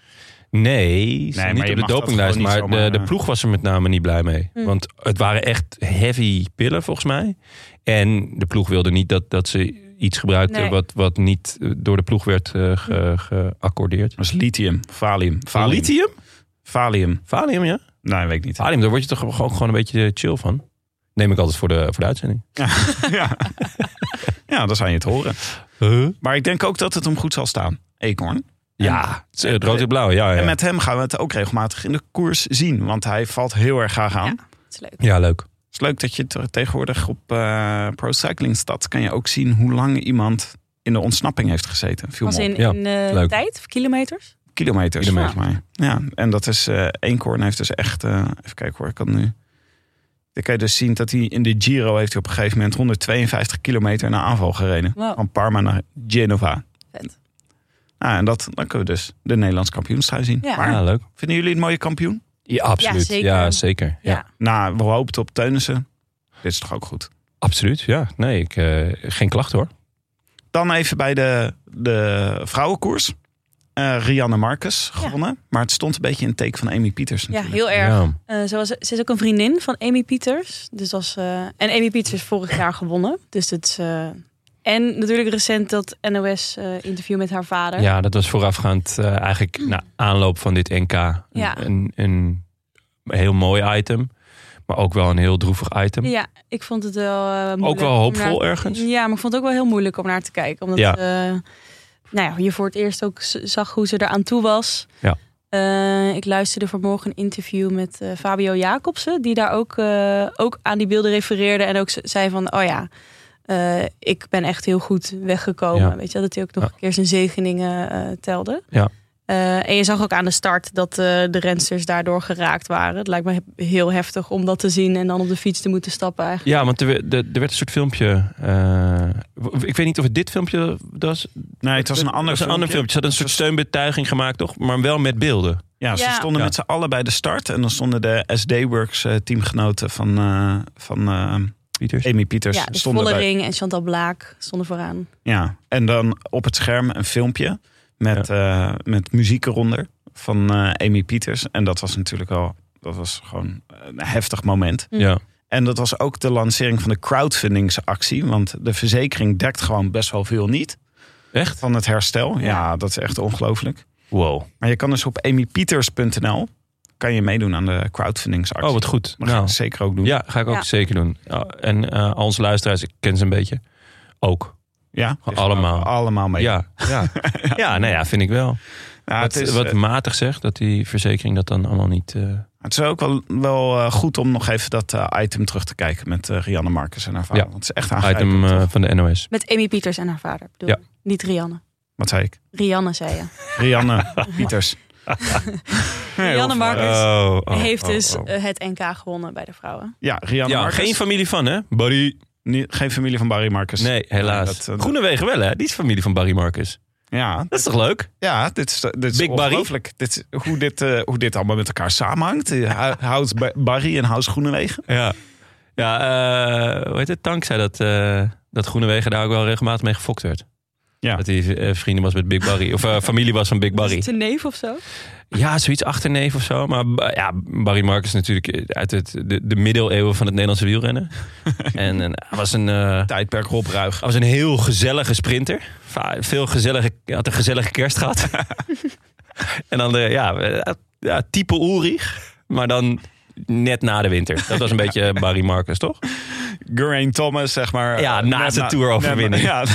Nee, ze maar niet je op mag de dat dopinglijst. gewoon Maar niet de, zomaar, de eh. ploeg was er met name niet blij mee. Mm. Want het waren echt heavy pillen, volgens mij. En de ploeg wilde niet dat, dat ze iets gebruikte Nee. wat, wat niet eh, door de ploeg werd eh, ge- geaccordeerd. Dat is lithium, valium. valium. Lithium? Ah. Valium. Valium, ja. Nee, weet ik niet. Valium, daar word je toch ook gewoon een beetje chill van? Neem ik altijd voor de, voor de uitzending. ja. ja, dat zou je het horen. Maar ik denk ook dat het hem goed zal staan, Eekhoorn. Ja, het, is, eh, het rood en blauw, ja. Ja, En met hem gaan we het ook regelmatig in de koers zien. Want hij valt heel erg graag aan. Ja. Dat is leuk. ja leuk. Het is leuk dat je te- tegenwoordig op eh Pro Cycling Stad... kan je ook zien hoe lang iemand in de ontsnapping heeft gezeten. Viel me Als op. in, Ja, in eh, leuk. tijd of kilometers? Kilometers, Kilometers. volgens mij. Ja, en dat is... eh Eekhoorn heeft dus echt... eh, even kijken hoor, ik kan nu... Dan kan je dus zien dat hij in de Giro heeft hij op een gegeven moment 152 kilometer naar aanval gereden. Wow. Van Parma naar Genova. Oh. Vet. Nou, en dat, dan kunnen we dus de Nederlands kampioenstrui zien. Ja. Maar Ja, leuk. vinden jullie het mooie kampioen? Ja, absoluut. Ja, zeker. zeker. Ja, Ja. Nou, we hoopten op Teunissen. Dit is toch ook goed. Absoluut, ja. Nee, ik, eh, geen klacht hoor. Dan even bij de, de vrouwenkoers. Eh Rianne Marcus gewonnen. Maar het stond een beetje in het teken van Amy Pieters Ja, natuurlijk. heel erg. Ja. Eh, ze, was, ze is ook een vriendin van Amy Pieters. Dus als, eh, en Amy Pieters is vorig jaar gewonnen. Dus het is, eh, en natuurlijk recent dat NOS-interview eh, met haar vader. ja, dat was voorafgaand eh, eigenlijk na aanloop van dit NK. Een- Mm. Ja. Een, een, heel mooi item, maar ook wel een heel droevig item. Ja, ik vond het wel eh, moeilijk. ook wel om hoopvol naar- ergens. Ja, maar ik vond het ook wel heel moeilijk om naar te kijken. Omdat Ja. eh, nou ja, je voor het eerst ook z- zag hoe ze eraan toe was. Ja. Eh, ik luisterde vanmorgen een interview met eh, Fabio Jacobsen. Die daar ook, eh, ook aan die beelden refereerde. En ook z- zei van, oh ja, eh, ik ben echt heel goed weggekomen. Ja. Weet je, wel, dat hij ook nog Ja. een keer zijn zegeningen eh, telde. Ja. Eh, en je zag ook aan de start dat eh, de rensters daardoor geraakt waren. Het lijkt me he- heel heftig om dat te zien en dan op de fiets te moeten stappen eigenlijk. Ja, want er, we- de- er werd een soort filmpje. eh, w- ik weet niet of het dit filmpje was. Nee, het was een ander Het was een ander filmpje. Ze hadden een soort steunbetuiging gemaakt, toch? Maar wel met beelden. Ja, ze Ja. stonden Ja. met z'n allen bij de start. En dan stonden de SD-Works eh, teamgenoten van, eh, van eh, Pieters. Amy Pieters. ja, dus stonden bij, Vollering en Chantal Blaak stonden vooraan. ja, en dan op het scherm een filmpje met, eh, met muziek eronder van eh, Amy Pieters. En dat was natuurlijk wel... Dat was gewoon een heftig moment. Mm. Ja. En dat was ook de lancering van de crowdfundingsactie. Want de verzekering dekt gewoon best wel veel niet Echt? van het herstel. Ja, dat is echt ongelooflijk. Wow. Maar je kan dus op amypieters.nl kan je meedoen aan de crowdfundingsactie. Oh, wat goed. Dat ga Nou, ik zeker ook doen. ja, ga ik ook Ja. zeker doen. Ja, en eh onze luisteraars, ik ken ze een beetje. Ook. Ja, dus Allemaal. Allemaal mee. Ja. Ja. ja, nou ja, vind ik wel. Ja, wat, Ah, het, is, wat eh, Ah, matig zegt, dat die verzekering dat dan allemaal niet... eh, het is ook wel, wel eh, goed om nog even dat eh, item terug te kijken met eh, Rianne Marcus en haar vader. Ja. Want het is echt aangrijpend. item eh, toch? van de NOS. Met Amy Pieters en haar vader. Bedoel, Ja. ik. Niet Rianne. Wat zei ik? Rianne zei je. Rianne Pieters. Rianne Marcus Oh, oh, heeft oh, dus oh. eh, het NK gewonnen bij de vrouwen. Ja, Rianne Ja, Marcus. geen familie van, hè? Barry. Nie- geen familie van Barry Marcus. Nee, Nee, dat, helaas. eh, dat- Groenewegen wel, hè? Die is familie van Barry Marcus. Ja, Dat is toch leuk? Ja, dit is, dit is Big Barry? ongelooflijk. Dit, is- hoe, dit, eh, hoe dit allemaal met elkaar samenhangt. Eh, House Ba- Barry en House Groenewegen. Ja. Ja, eh, hoe heet het? Tank zei dat, eh dat Groenewegen daar ook wel regelmatig mee gefokt werd. Ja. Dat hij eh, vrienden was met Big Barry. Of eh, familie was van Big Is Barry. het een neef of zo? Ja, zoiets achterneef of zo. Maar eh, ja, Barry Marcus natuurlijk eh, uit het, de, de middeleeuwen van het Nederlandse wielrennen. en, en hij was een... eh, Tijdperk Rob Ruig. hij was een heel gezellige sprinter. Va- Veel gezellige, hij had een gezellige kerst gehad. en dan de, ja, eh, ja, type Ulrich, maar dan net na de winter. Dat was een beetje Barry Marcus, toch? Geraint Thomas, zeg maar. Ja, eh, na net zijn toeroverwinning. net na-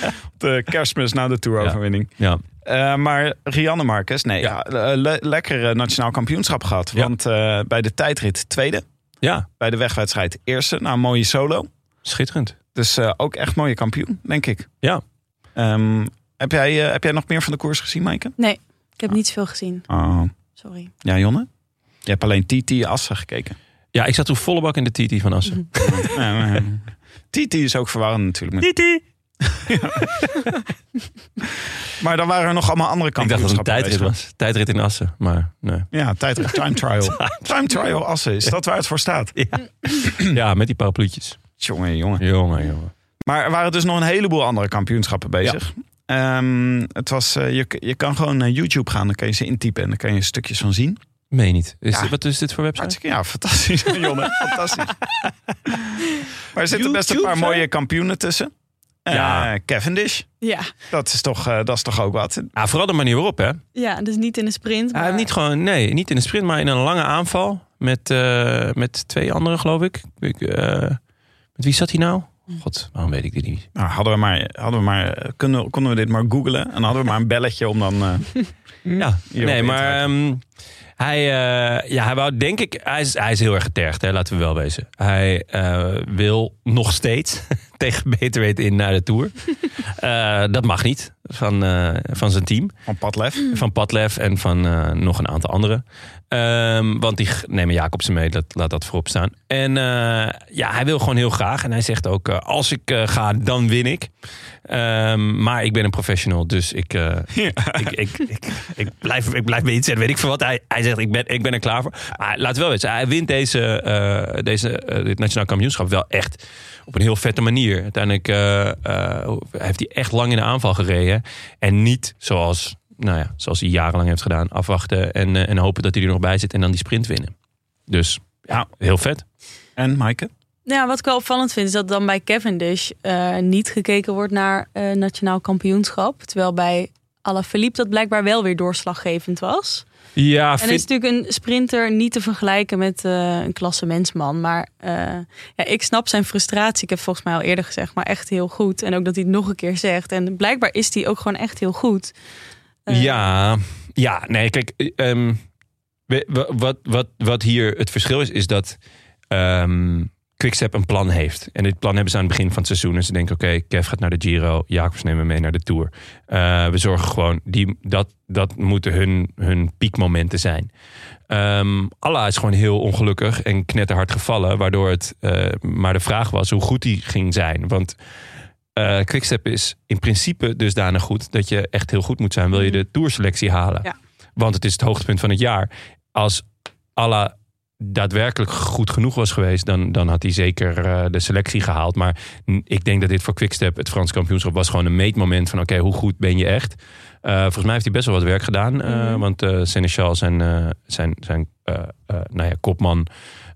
ja. de kerstmis na de toeroverwinning. Ja. Eh, maar Rianne Marcus, nee. Ja. Ja. eh, le- lekker eh, nationaal kampioenschap gehad. Ja. Want eh, bij de tijdrit tweede. Ja, Bij de wegwedstrijd eerste. Nou, mooie solo. schitterend. Dus eh, ook echt mooie kampioen, denk ik. Ja. Ehm, heb, jij, eh, heb jij nog meer van de koers gezien, Maaike? Nee, ik heb niet veel gezien. Oh. Sorry. Ja, Jonne? Je hebt alleen Titi Assen gekeken. Ja, ik zat toen volle bak in de TT van Assen. Ja, maar- eh, Titi is ook verwarrend natuurlijk. Met... Titi! maar dan waren er nog allemaal andere Ik dacht dat het kampioenschappen een tijdrit bezig. was. Tijdrit in Assen, maar nee. Ja, tijdrit. Time trial. Time trial Assen. Is dat waar het voor staat? Ja, met die parapluutjes. Jongen, jongen. Jongen, jongen. Maar er waren dus nog een heleboel andere kampioenschappen bezig. Ehm, het was, eh, je, je kan gewoon naar YouTube gaan. Dan kan je ze intypen en dan kan je stukjes van zien. Meen je niet. Is Ja. dit- wat is dit voor website? Hartstikke, ja, fantastisch, Jonne. Fantastisch. Maar er zitten best een YouTube, paar hè? mooie kampioenen tussen. Ja. Eh, Cavendish. Ja, Dat is toch, eh, dat is toch ook wat. Ja, vooral de manier waarop, hè? ja dus niet in een sprint. Hij heeft niet gewoon, nee, niet in een sprint, maar in een lange aanval. Met, eh, met twee anderen, geloof ik. ik eh, met wie zat hij nou? Hm. God, waarom weet ik dit niet? Nou, hadden we maar, hadden we maar eh, kunnen, konden we dit maar googlen. En dan hadden we maar een belletje om dan... eh, Ja, Hier nee, op maar internet. ehm, hij, eh, ja, hij wou denk ik, hij is, hij is heel erg getergd, hè, laten we wel wezen. Hij eh, wil nog steeds tegen beter weten in naar de Tour. Eh, dat mag niet van, eh, van zijn team, van Padlef. van Padlef en van eh, nog een aantal anderen. Ehm, want die g- nemen Jacobsen mee, dat, laat dat voorop staan. En eh, ja, hij wil gewoon heel graag. En hij zegt ook, eh, als ik eh, ga, dan win ik. Ehm, maar ik ben een professional, dus ik, eh, ik, ik, ik, ik blijf, ik blijf me inzetten, weet ik veel wat. Hij, hij zegt, ik ben, ik ben er klaar voor. Maar laten we wel weten, hij wint deze, eh, deze, eh, dit nationaal kampioenschap wel echt op een heel vette manier. Uiteindelijk eh, eh, heeft hij echt lang in de aanval gereden. En niet zoals, nou ja, zoals hij jarenlang heeft gedaan, afwachten en, eh, en hopen dat hij er nog bij zit en dan die sprint winnen. Dus ja, heel vet. En Maaike? Nou ja, wat ik wel opvallend vind is dat dan bij Cavendish eh, niet gekeken wordt naar eh, nationaal kampioenschap. Terwijl bij Alaphilippe dat blijkbaar wel weer doorslaggevend was. Ja, En het is natuurlijk een sprinter niet te vergelijken met eh, een klassementsman. Maar eh, ja, ik snap zijn frustratie. Ik heb volgens mij al eerder gezegd, maar echt heel goed. En ook dat hij het nog een keer zegt. En blijkbaar is hij ook gewoon echt heel goed. Eh, Ja, ja, nee, kijk, eh, ehm, we- wa- wat, wat, wat hier het verschil is, is dat ehm Quickstep een plan heeft. En dit plan hebben ze aan het begin van het seizoen. En ze denken, oké, Kev gaat naar de Giro, Jacobs nemen mee naar de Tour. Eh, we zorgen gewoon, die, dat, dat moeten hun, hun piekmomenten zijn. Ehm Allah is gewoon heel ongelukkig en knetterhard gevallen. Waardoor het eh, maar de vraag was hoe goed die ging zijn. Want eh Quickstep is in principe dusdanig goed dat je echt heel goed moet zijn. Wil je de tourselectie halen? Ja. Want het is het hoogtepunt van het jaar. Als Allah daadwerkelijk goed genoeg was geweest, dan, dan had hij zeker eh, de selectie gehaald. Maar n- ik denk dat dit voor Quickstep, het Frans kampioenschap, was gewoon een meetmoment van oké, hoe goed ben je echt? Eh, volgens mij heeft hij best wel wat werk gedaan. eh, Mhm. Want eh Seneschal, zijn, eh, zijn, zijn eh, eh, nou ja, kopman,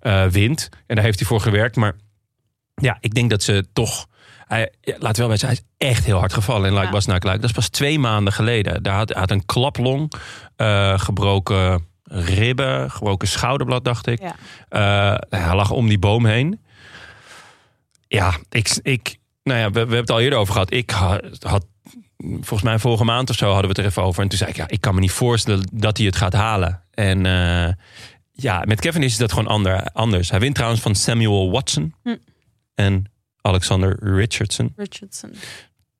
eh, wint. En daar heeft hij voor gewerkt. Maar ja, ik denk dat ze toch. Hij, ja, laten we wel weten, hij is echt heel hard gevallen in Luik Ja. was naar Dat is pas twee maanden geleden. Daar had, hij had een klaplong, eh, gebroken ribben, gebroken schouderblad, dacht ik. Ja. Eh, hij lag om die boom heen. Ja, ik, ik, nou ja we, we hebben het al eerder over gehad. Ik ha- had volgens mij vorige maand of zo hadden we het er even over. En toen zei ik, ja, ik kan me niet voorstellen dat hij het gaat halen. En eh, ja, met Kevin is dat gewoon ander, anders. Hij wint trouwens van Samuel Watson Hm. en Alexander Richardson. Richardson.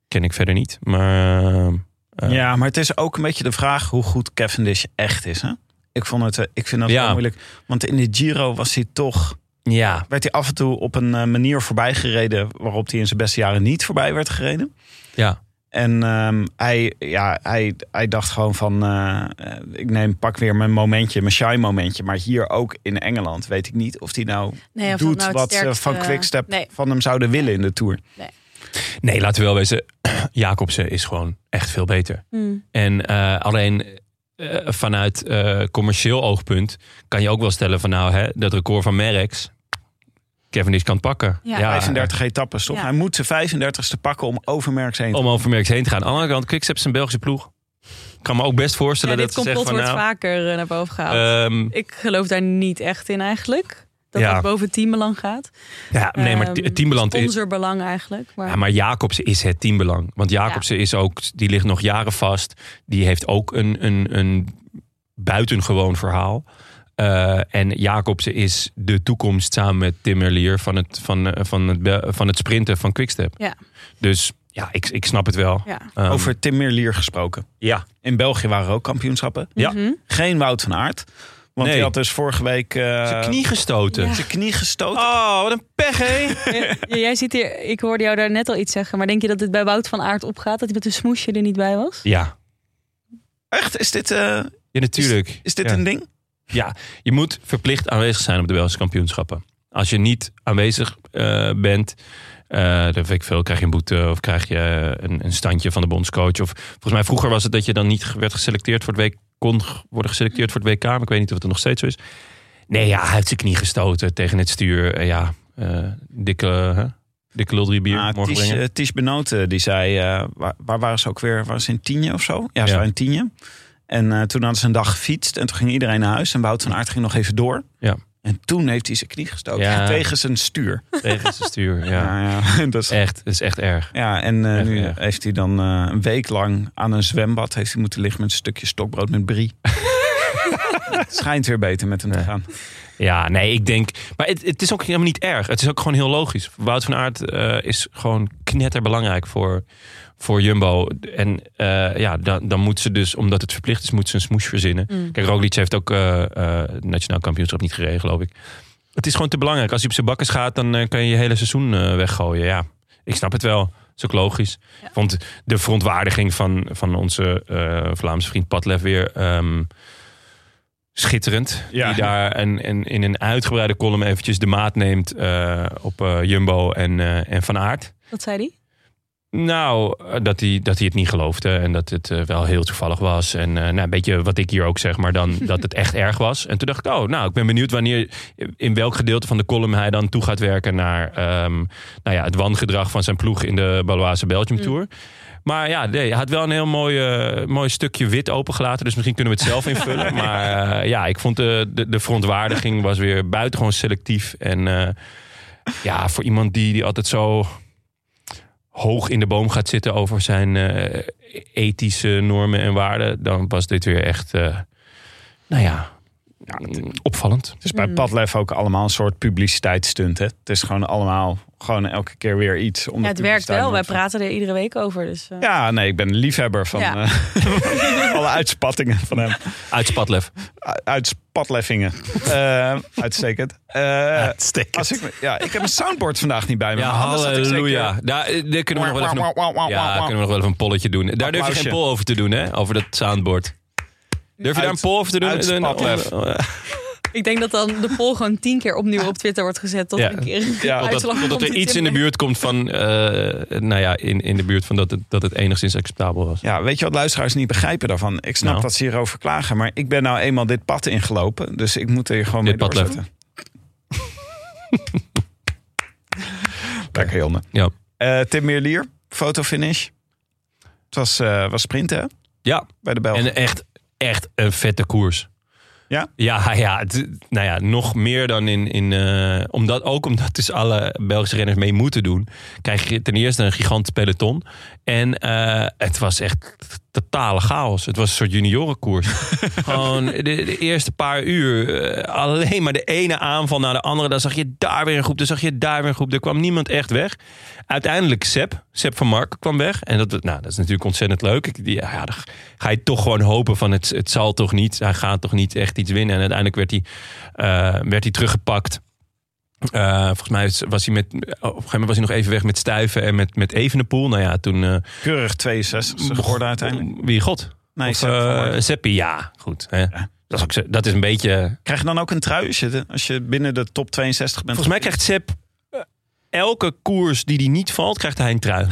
Ken ik verder niet, maar... eh, eh, ja, maar het is ook een beetje de vraag hoe goed Cavendish echt is. Hè? Ik, vond het, eh, ik vind dat Ja. wel moeilijk. Want in de Giro was hij toch, ja. werd hij af en toe op een eh, manier voorbij gereden... waarop hij in zijn beste jaren niet voorbij werd gereden. Ja. En ehm, hij, ja, hij, hij dacht gewoon van, eh, eh, ik neem pak weer mijn momentje, mijn shy momentje. Maar hier ook in Engeland weet ik niet of hij nou Nee, of dat doet nou het wat eh, ze sterkste- van Quickstep Nee. van hem zouden willen in de Tour. Nee, laten we wel wezen. Jacobsen is gewoon echt veel beter. Hmm. En eh, alleen eh, vanuit eh, commercieel oogpunt kan je ook wel stellen van nou, hè, dat record van Merckx, Kevin is kan het pakken. Ja. 35 etappes, toch? Ja. Hij moet zijn 35ste pakken om over Merckx heen te Om over Merckx heen te gaan. Aan de andere kant, Quickstep is een Belgische ploeg. Ik kan me ook best Ja, voorstellen dit dat ze zeggen complot van wordt nou... vaker eh, naar boven gehaald. ehm, Ik geloof daar niet echt in eigenlijk. Dat Ja. het boven teambelang gaat. ja, nee, maar het Ehm, teambeland is... Sponsorbelang eigenlijk. Maar, Ja, maar Jacobsen is het teambelang. Want Jacobsen is ook, die ligt nog jaren vast. Die heeft ook een, een, een buitengewoon verhaal. Eh, en Jacobsen is de toekomst samen met Tim Merlier van het, van, eh, van het, be- van het sprinten van Quickstep. Ja. Dus ja, ik, ik snap het wel. ja. Ehm, Over Tim Merlier gesproken. ja. In België waren er ook kampioenschappen. Ja. Mhm. Geen Wout van Aert. Want Nee. hij had dus vorige week eh, Zijn knie gestoten. Ja. zijn knie gestoten. Oh, wat een pech, hè? Ja, jij ziet hier, ik hoorde jou daar net al iets zeggen, maar denk je dat dit bij Wout van Aert opgaat? Dat hij met een smoesje er niet bij was? ja. Echt? Is dit, eh, ja, natuurlijk. is dit Ja. een ding? Ja, je moet verplicht aanwezig zijn op de Belgische kampioenschappen. Als je niet aanwezig eh, bent, eh dan weet ik veel, krijg je een boete of krijg je een, een standje van de bondscoach. Of volgens mij vroeger was het dat je dan niet werd geselecteerd voor het WK, kon g- worden geselecteerd voor het WK, maar ik weet niet of het er nog steeds zo is. Nee, ja, hij heeft zijn knie gestoten tegen het stuur. Eh, ja, eh, dikke, hè? dikke lul drie bier Ah, morgen Ties, brengen. eh, Ties Benoten, die zei, eh, waar, waar waren ze ook weer? Waren ze in Tienje of zo? Ja, ze Ja. waren in Tienje. En eh, toen hadden ze een dag gefietst en toen ging iedereen naar huis. En Wout van Aert ging nog even door. Ja. En toen heeft hij zijn knie gestoken Ja. tegen zijn stuur. Tegen zijn stuur, eh, ja. Ja, ja, dat is- Echt, dat is echt erg. ja en eh, Echt nu erg. heeft hij dan eh, een week lang aan een zwembad heeft hij moeten liggen met een stukje stokbrood met brie. Het schijnt weer beter met hem te Nee. gaan. Ja, nee, ik denk... Maar het, het is ook helemaal niet erg. Het is ook gewoon heel logisch. Wout van Aert eh, is gewoon knetterbelangrijk voor, voor Jumbo. En eh, ja, dan, dan moet ze dus, omdat het verplicht is, moet ze een smoes verzinnen. Hmm. Kijk, Roglic heeft ook eh, eh, het nationaal kampioenschap niet gereden, geloof ik. Het is gewoon te belangrijk. Als hij op zijn bakkes gaat, dan eh, kan je je hele seizoen eh, weggooien. Ja, ik snap het wel. Dat is ook logisch. Ja. Want de verontwaardiging van, van onze eh, Vlaamse vriend Patlev weer... ehm, schitterend. Ja. Die daar een, een, in een uitgebreide column eventjes de maat neemt eh, op eh, Jumbo en, eh, en Van Aert. Wat zei hij? Nou, eh, dat hij, dat hij het niet geloofde en dat het eh, wel heel toevallig was. En eh, nou, een beetje wat ik hier ook zeg, maar dan dat het echt erg was. En toen dacht ik, oh, nou, ik ben benieuwd wanneer, in welk gedeelte van de column hij dan toe gaat werken naar ehm, nou ja, het wangedrag van zijn ploeg in de Baloise Belgium Tour. Maar ja, nee, hij had wel een heel mooi, eh, mooi stukje wit opengelaten. Dus misschien kunnen we het zelf invullen. Maar eh, ja, ik vond de, de, de verontwaardiging was weer buitengewoon selectief. En eh, ja, voor iemand die, die altijd zo hoog in de boom gaat zitten over zijn eh, ethische normen en waarden, dan was dit weer echt, eh, nou ja, opvallend. Het is Mm. bij Padlef ook allemaal een soort publiciteitsstunt. Hè? Het is gewoon allemaal, gewoon elke keer weer iets. Om Ja, de het werkt publiciteit wel. Wij te- praten er iedere week over. Dus, eh, Ja, nee, ik ben een liefhebber van Ja. eh, alle uitspattingen van hem. Uit Spatlef. U- Uitspatleffingen. Eh, uitstekend. Eh, als ik, me- ja, ik heb een soundboard vandaag niet bij me. Ja, maar anders had ik zeker- halleluja. Daar, eh, daar kunnen we nog wel even een, Wauw, wauw, wauw, ja, wauw. kunnen we nog wel even een polletje doen. Daar durf je Applausje. geen poll over te doen, hè? Over dat soundboard. Durf je daar een Uit- poll over te doen? Eh, uit Spatlef. Een- een- Ik denk dat dan de poll gewoon tien keer opnieuw op Twitter wordt gezet. Tot Ja. een keer Ja, een Totdat uitslag totdat komt er die iets in de Tim- buurt komt van... eh, nou ja, in, in de buurt van dat het, dat het enigszins acceptabel was. Ja, weet je wat luisteraars niet begrijpen daarvan? Ik snap Nou. dat ze hierover klagen, maar ik ben nou eenmaal dit pad ingelopen. Dus ik moet er hier gewoon Dit mee pad lef. doorzetten. Lekker, Jonne. Ja. Eh, Tim Meerlier, fotofinish. Het was, eh, was sprinten hè, Ja, bij de Belgen. en echt, echt een vette koers. Ja? Ja, ja, het- nou ja, nog meer dan in... in eh, omdat, ook omdat dus alle Belgische renners mee moeten doen... krijg je ten eerste een gigantisch peloton. En eh, het was echt totale chaos. Het was een soort juniorenkoers. Gewoon de, de eerste paar uur eh, alleen maar de ene aanval naar de andere. Dan zag je daar weer een groep, dan zag je daar weer een groep. Er kwam niemand echt weg. Uiteindelijk Sepp, Sepp van Marken kwam weg. En dat, nou, dat is natuurlijk ontzettend leuk. Ik, die- ja, dan ga je toch gewoon hopen van het, het zal toch niet. Hij gaat toch niet echt iets winnen. En uiteindelijk werd hij, eh, werd hij teruggepakt. Eh, volgens mij was- was hij, met, op een gegeven moment was hij nog even weg met Stuiven en met, met Evenepoel. Nou ja, toen... eh, Keurig 62 geworden uiteindelijk. Wie, God? Nee, Of, Sepp van eh, Marken. Seppi, ja. Goed. Hè? Dat, is ook, zo- dat is een beetje... Krijg je dan ook een trui als je, als je binnen de top 62 bent? Volgens mij krijgt Sepp eh, elke koers die hij niet valt, krijgt hij een trui.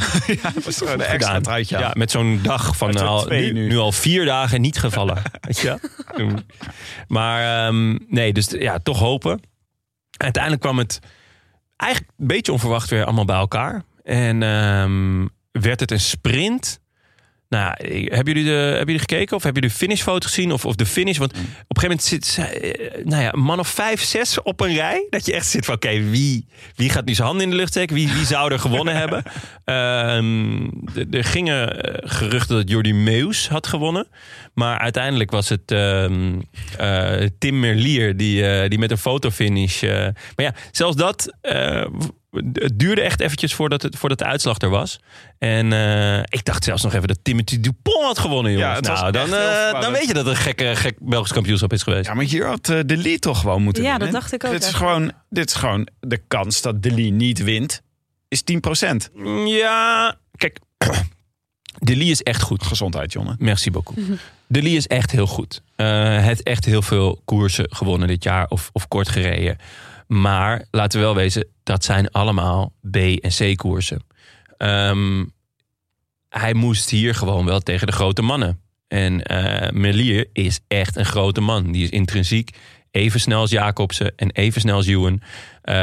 Dat is gewoon een extra Gedaan. truitje. Ja, aan. met zo'n dag van Met zo'n al, twee nu, nu. nu al vier dagen niet gevallen. Weet je? Toen. Maar ehm, nee, dus ja, toch hopen. Uiteindelijk kwam het eigenlijk een beetje onverwacht weer allemaal bij elkaar. En ehm, werd het een sprint. Nou, ja, ik- hebben jullie, de, hebben jullie gekeken? Of hebben jullie de finishfoto gezien? Of, of de finish? Want op een gegeven moment zit ze, eh, nou ja, een man of vijf, zes op een rij. Dat je echt zit van, oké, wie, wie gaat nu zijn handen in de lucht steken? Wie, wie zou er gewonnen hebben? Ehm, d- er gingen eh, geruchten dat Jordi Meus had gewonnen. Maar uiteindelijk was het ehm, eh, Tim Merlier die, eh, die met een fotofinish... eh, maar ja, zelfs dat... eh, het duurde echt eventjes voordat, het, voordat de uitslag er was. En eh, ik dacht zelfs nog even dat Timothy Dupont had gewonnen, Ja, jongens. het was nou, dan, echt heel eh, dan spannend. weet je dat het een gekke, gek Belgisch kampioenschap is geweest. Ja, maar hier had eh, de Lee toch gewoon moeten Ja, winnen. dat dacht ik ook Dit is, echt. gewoon, dit is gewoon de kans dat de Lee niet wint, is 10%. Ja, kijk. De Lee is echt goed. Gezondheid, jongen. Merci beaucoup. De Lee is echt heel goed. Eh heeft echt heel veel koersen gewonnen dit jaar of, of kort gereden. Maar laten we wel wezen, dat zijn allemaal B- en C-koersen. Ehm, hij moest hier gewoon wel tegen de grote mannen. En eh Melier is echt een grote man. Die is intrinsiek Even snel als Jacobsen en even snel als Ewan. Eh,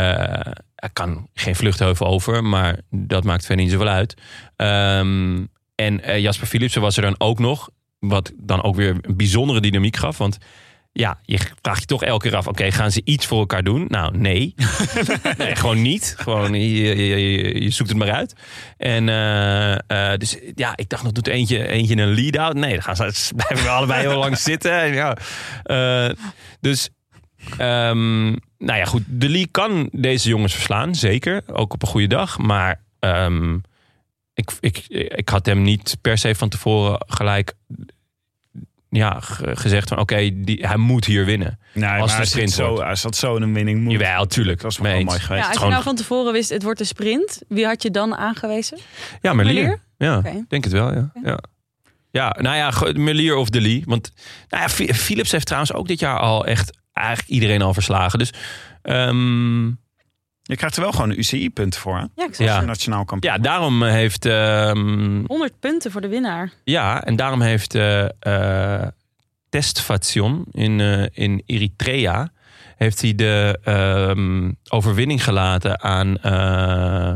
hij kan geen vluchtheuvel over, maar dat maakt verder niet zoveel uit. Ehm, en eh, Jasper Philipsen was er dan ook nog. Wat dan ook weer een bijzondere dynamiek gaf. Want ja, je vraagt je toch elke keer af: oké, gaan ze iets voor elkaar doen? Nou, nee. nee gewoon niet. Gewoon, je, je, je, je zoekt het maar uit. En eh, eh, dus ja, ik dacht nog: doet eentje, eentje een lead-out? Nee, dan gaan ze, ze blijven we allebei heel lang zitten. En ja. Eh, dus. ehm, nou ja, goed. De Lee kan deze jongens verslaan, zeker. Ook op een goede dag. Maar ehm, ik, ik, ik had hem niet per se van tevoren gelijk ja, ge- gezegd van oké, die- hij moet hier winnen. Nee, maar het hij, een zit sprint zo, wordt. hij zat zo in een winning mood. Jawel, tuurlijk. Dat was Mee wel eens. mooi geweest. Ja, als je gewoon- nou van tevoren wist, het wordt een sprint, wie had je dan aangewezen? Ja, Merlier. Merlier? Ja, Oké. denk het wel, ja. ja. Ja, nou ja, ge- Merlier of De Lee. Want nou ja, Fi- Philips heeft trouwens ook dit jaar al echt eigenlijk iedereen al verslagen. Dus ehm, Je krijgt er wel gewoon UCI-punten voor, hè? Ja, ik zeg Ja. Als je nationaal kampioen. ja, daarom heeft ehm, 100 punten voor de winnaar. Ja, en daarom heeft eh eh, Tesfation in, eh, in Eritrea heeft hij de ehm, overwinning gelaten aan eh,